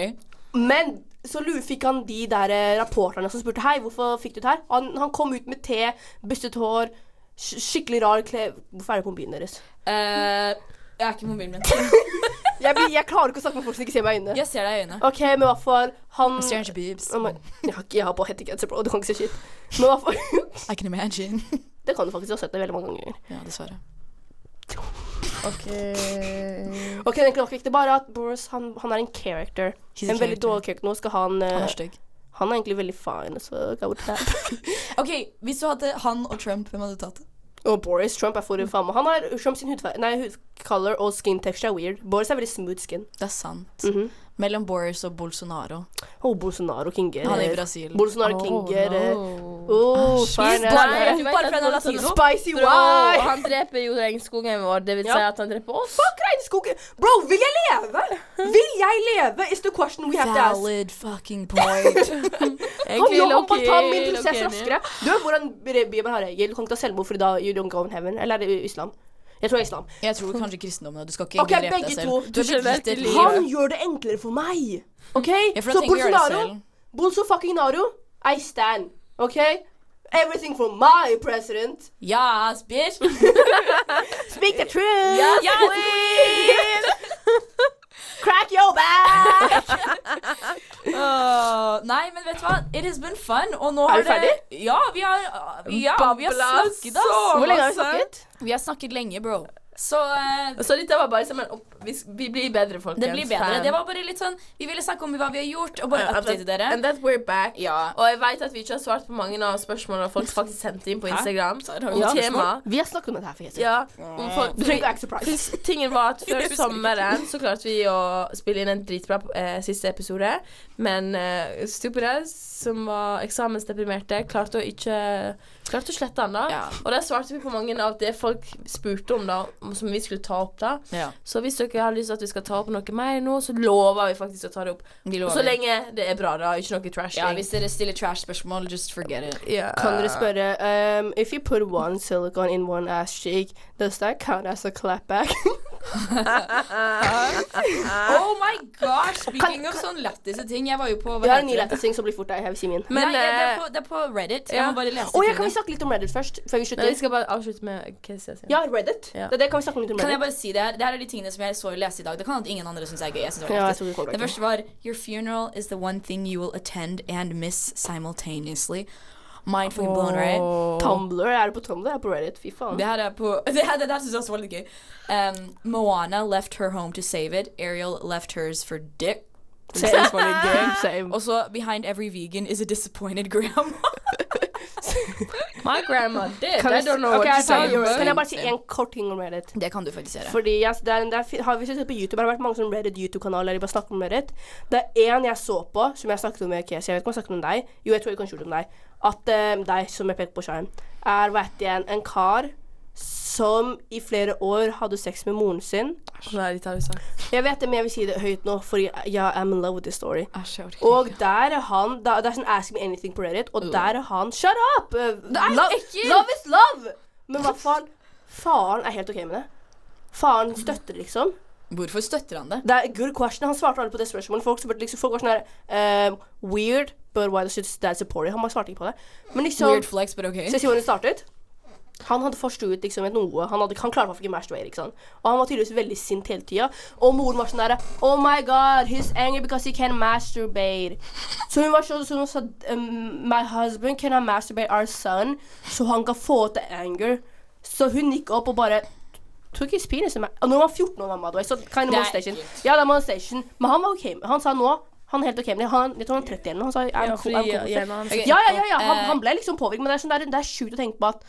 Men så lu- fikk han de der eh, rapporterne som spurte Hei, hvorfor fikk du det her? Han, han kom ut med te, bustet hår, sk skikkelig rar kle Hvorfor er det på byen deres? Eh, jeg er ikke mobilen min. Jeg, blir, jeg klarer ikke å snakke med folk som ikke ser meg i øynene. Jeg ser deg i øynene. OK, men hva for han Strange boobs. Oh my- jeg, har ikke, jeg har på hettegenser, bro. Du kan ikke se shit. Men hva for I can imagine. Det kan du faktisk. Jeg har sett det veldig mange ganger. Ja, dessverre. Ok, egentlig var ikke ekte, bare at Boris han, han er en character. He's a en veldig character. dårlig character. Nå skal han eh, Han er stygg. Han er egentlig veldig fine. Så go with that. Ok, hvis du hadde han og Trump, hvem hadde du tatt? Og Boris Trump er for faen meg. Han har Trump sin hudfarge Nei, hudcolor og skin texture er weird. Boris er veldig smooth skin. Det er sant. Mhm. Mellom Boris og Bolsonaro. Og Bolsonaro klinger. Han er i Brasil. Bolsonaro klinger. Oh, She's fine. black. Nei. Bare fordi han er latino. sånn Spicy Bro, wine! han dreper jo regnskogen vår. Det vil si Ja. at han dreper oss. Fuck regnskogen! Bro, vil jeg leve? Vil jeg leve? Is the question we have to ask. Valid fucking point. Kom jo, han bare ta min prosess raskere. Du vet hvordan Bibelen har regel. Du kan ikke ta selvmord, for da you don't go in heaven. Eller er det islam? Jeg tror det er islam. Jeg tror kanskje kristendommen. og Du skal ikke Ok, drepe begge deg to. selv. Du har blitt skjønner gitt et ikke liv. livet. Han gjør det enklere for meg. OK? Ja, for da Så tenker vi å gjøre det Bolsonaro selv. Bolso fucking Naro, I stand. OK? Everything for my president. Yes, bitch! Speak the truth. Yes, Crack your back. Åh, nei, men vet du hva? It has been fun. Og nå Er vi har Det, ja, vi har, vi, ja, vi har Babla snakket, ass. så Hvor lenge har vi masse. snakket? Vi har snakket lenge, bro. Så eh, Så dette var bare som en opp... Vi, vi blir bedre, folkens. det blir bedre. Fan. Det var bare litt sånn Vi ville snakke om hva vi har gjort, og Eh, bare Uh, update dere. And that we're back. Ja. Og jeg vet at vi ikke har svart på mange av spørsmålene folk faktisk sendte inn på Instagram. Så har vi Om spørsmål? tema. Vi har snakket om dette her for Ja. Om folk, Du trenger ikke være surprised. Plus, tingen var at Jeg før husker sommeren så klarte vi å spille inn en dritbra eh, siste episode, men eh, Stupide, som var eksamensdeprimerte, klarte å ikke Klarte å slette den, da. Ja. Og der svarte vi på mange av det folk spurte om, da, om- som vi skulle ta opp, da. Ja. Så hvis dere har lyst til at vi skal ta opp noe mer nå, så lover vi faktisk å ta det opp. Vi Og lover. så lenge det er bra, da. Ikke noe trashing. Ja, hvis dere stiller trash-spørsmål, just forget it. Ja. Kan dere spørre um, If you put one silicon in one ass cheek, does that count as a clapback? Ah. Oh my gosh! Speaking of sånn lættis ting Jeg var jo på Vi har en ny heter det? lættis ting som blir fort der. Jeg vil si min. Men, Nei, ja, det, er eh, på, det er på Reddit. Jeg ja. må bare lese Å ja, til kan vi det. snakke litt om Reddit først? Før vi Nei, vi slutter? skal bare avslutte med hva jeg sier. Ja, Reddit. Ja. Det, er det kan vi snakke om litt om Kan jeg Reddit. bare si det her? Det her er de tingene som jeg så og leste i dag. Det kan at ingen andre syns er gøy. Jeg synes det var Ja, jeg heftig. tror vi kommer Det tilbake. første var Your funeral is the one thing you will attend and miss simultaneously. Mind fucking blown, right? Tumblr. Er det på Tumblr? Er det på Reddit? Fy faen. Det her er på Det her, det her synes jeg også var litt gøy. Um, Moana left her home to save it. Ariel left hers for dick. Same. Same. Og så behind every vegan is a disappointed grandma. My grandma did. Kan, vi, I don't know Ok, what jeg to tar- say. about. kan jeg bare si en kort ting om Reddit? Det kan du faktisk gjøre. Fordi jeg, det er, en- det er, fi- har, Hvis du ser på YouTube, har det vært mange sånne Reddit YouTube-kanaler der de bare snakker om Reddit. Det er en jeg så på, som jeg snakket om med Kesi. Jeg vet ikke om jeg snakket om deg. Jo, jeg tror jeg kanskje gjorde det om deg. At eh, deg, som jeg pekte på skjerm, er, vet jeg, en, en kar som i flere år hadde sex med moren sin. Nei, dette har du sagt. Jeg vet det, men jeg vil si det høyt nå, for jeg, jeg am in love with this story. Æsj, jeg orker Og der er han da, Det er sånn Ask me anything på Reddit, og der er han Shut up! Uh, love, ekkelt! love is love! Men hva faen? Faren er helt OK med det. Faren støtter, liksom. ikke. Hvorfor støtter han det? Det er good question. Han svarte aldri på det spørsmålet. Folk, spurte liksom, folk var sånn her ehm, Weird, but why does it that's a porry? Han bare svarte ikke på det. Men liksom Weird flex, but okay. Skal jeg si hvordan det startet? Han hadde forstuet liksom et noe. Han, hadde, han klarte i hvert fall ikke masturbate. ikke sant? sånn. Og han var tydeligvis veldig sint hele tida. Og moren var sånn derre Oh my God, he's angry because he can masturbate. Så hun var sånn så hun sa um, My husband can masturbate our son, så han kan få ut the anger. Så hun gikk opp og bare Tok his penis in my Og Når han var 14 år gammel, da, så kind of Det er molestation. ekkelt. Ja, det er molestation. Men han var OK. med- Han sa nå Han er helt OK med det. Han, jeg tror han er 30 eller noe. Han sa I'm Ja, cool, fordi I'm cool. with it." hjernen hans Ok. Ja, ja, ja, ja. Han, Eh, han ble liksom påvirket, men det er, sånn, det er, det er sjukt å tenke på at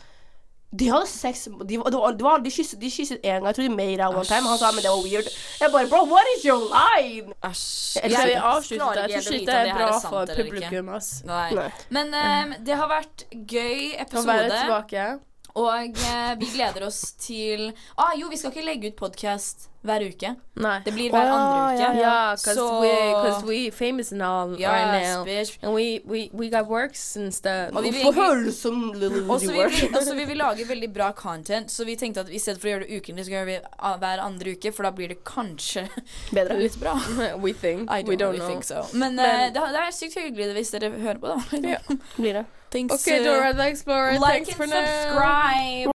de hadde sex De, var- det var, det var, de, kysset, de kysset en gang. Jeg tror de made out one time. Han sa men det var weird. Jeg bare Bro, what is your line? Æsj. Jeg Jeg vil klarer avslutte ikke der. Jeg helt å tror vite om det ikke det her er bra er sant for eller ikke. publikum, ass. Nei. Nei. Men ehm, det har vært gøy Å være episode, tilbake. og eh, vi gleder oss til ah, Jo, vi skal ikke legge ut podkast hver uke. Nei. Det blir hver Å, andre uke. ja, Ja, cause Så- we, cause we famous and all right Yes, now. bitch. And we, we, we got works and stuff. Og vi vil Hvorfor egentlig- høres sånn du som Lily Og så Woody vil, Ward? vi- og så vil vi lage veldig bra content, så vi tenkte at i stedet for å gjøre det ukentlig, så gjør vi ah, hver andre uke, for da blir det kanskje Bedre. litt bra. we think. I don't, we don't really know. think so. Men, eh, det, det er sykt hyggelig hvis dere hører på, da. Blir det. Thanks, Okay, eh, Dora the Explorer, like thanks for and now. subscribe.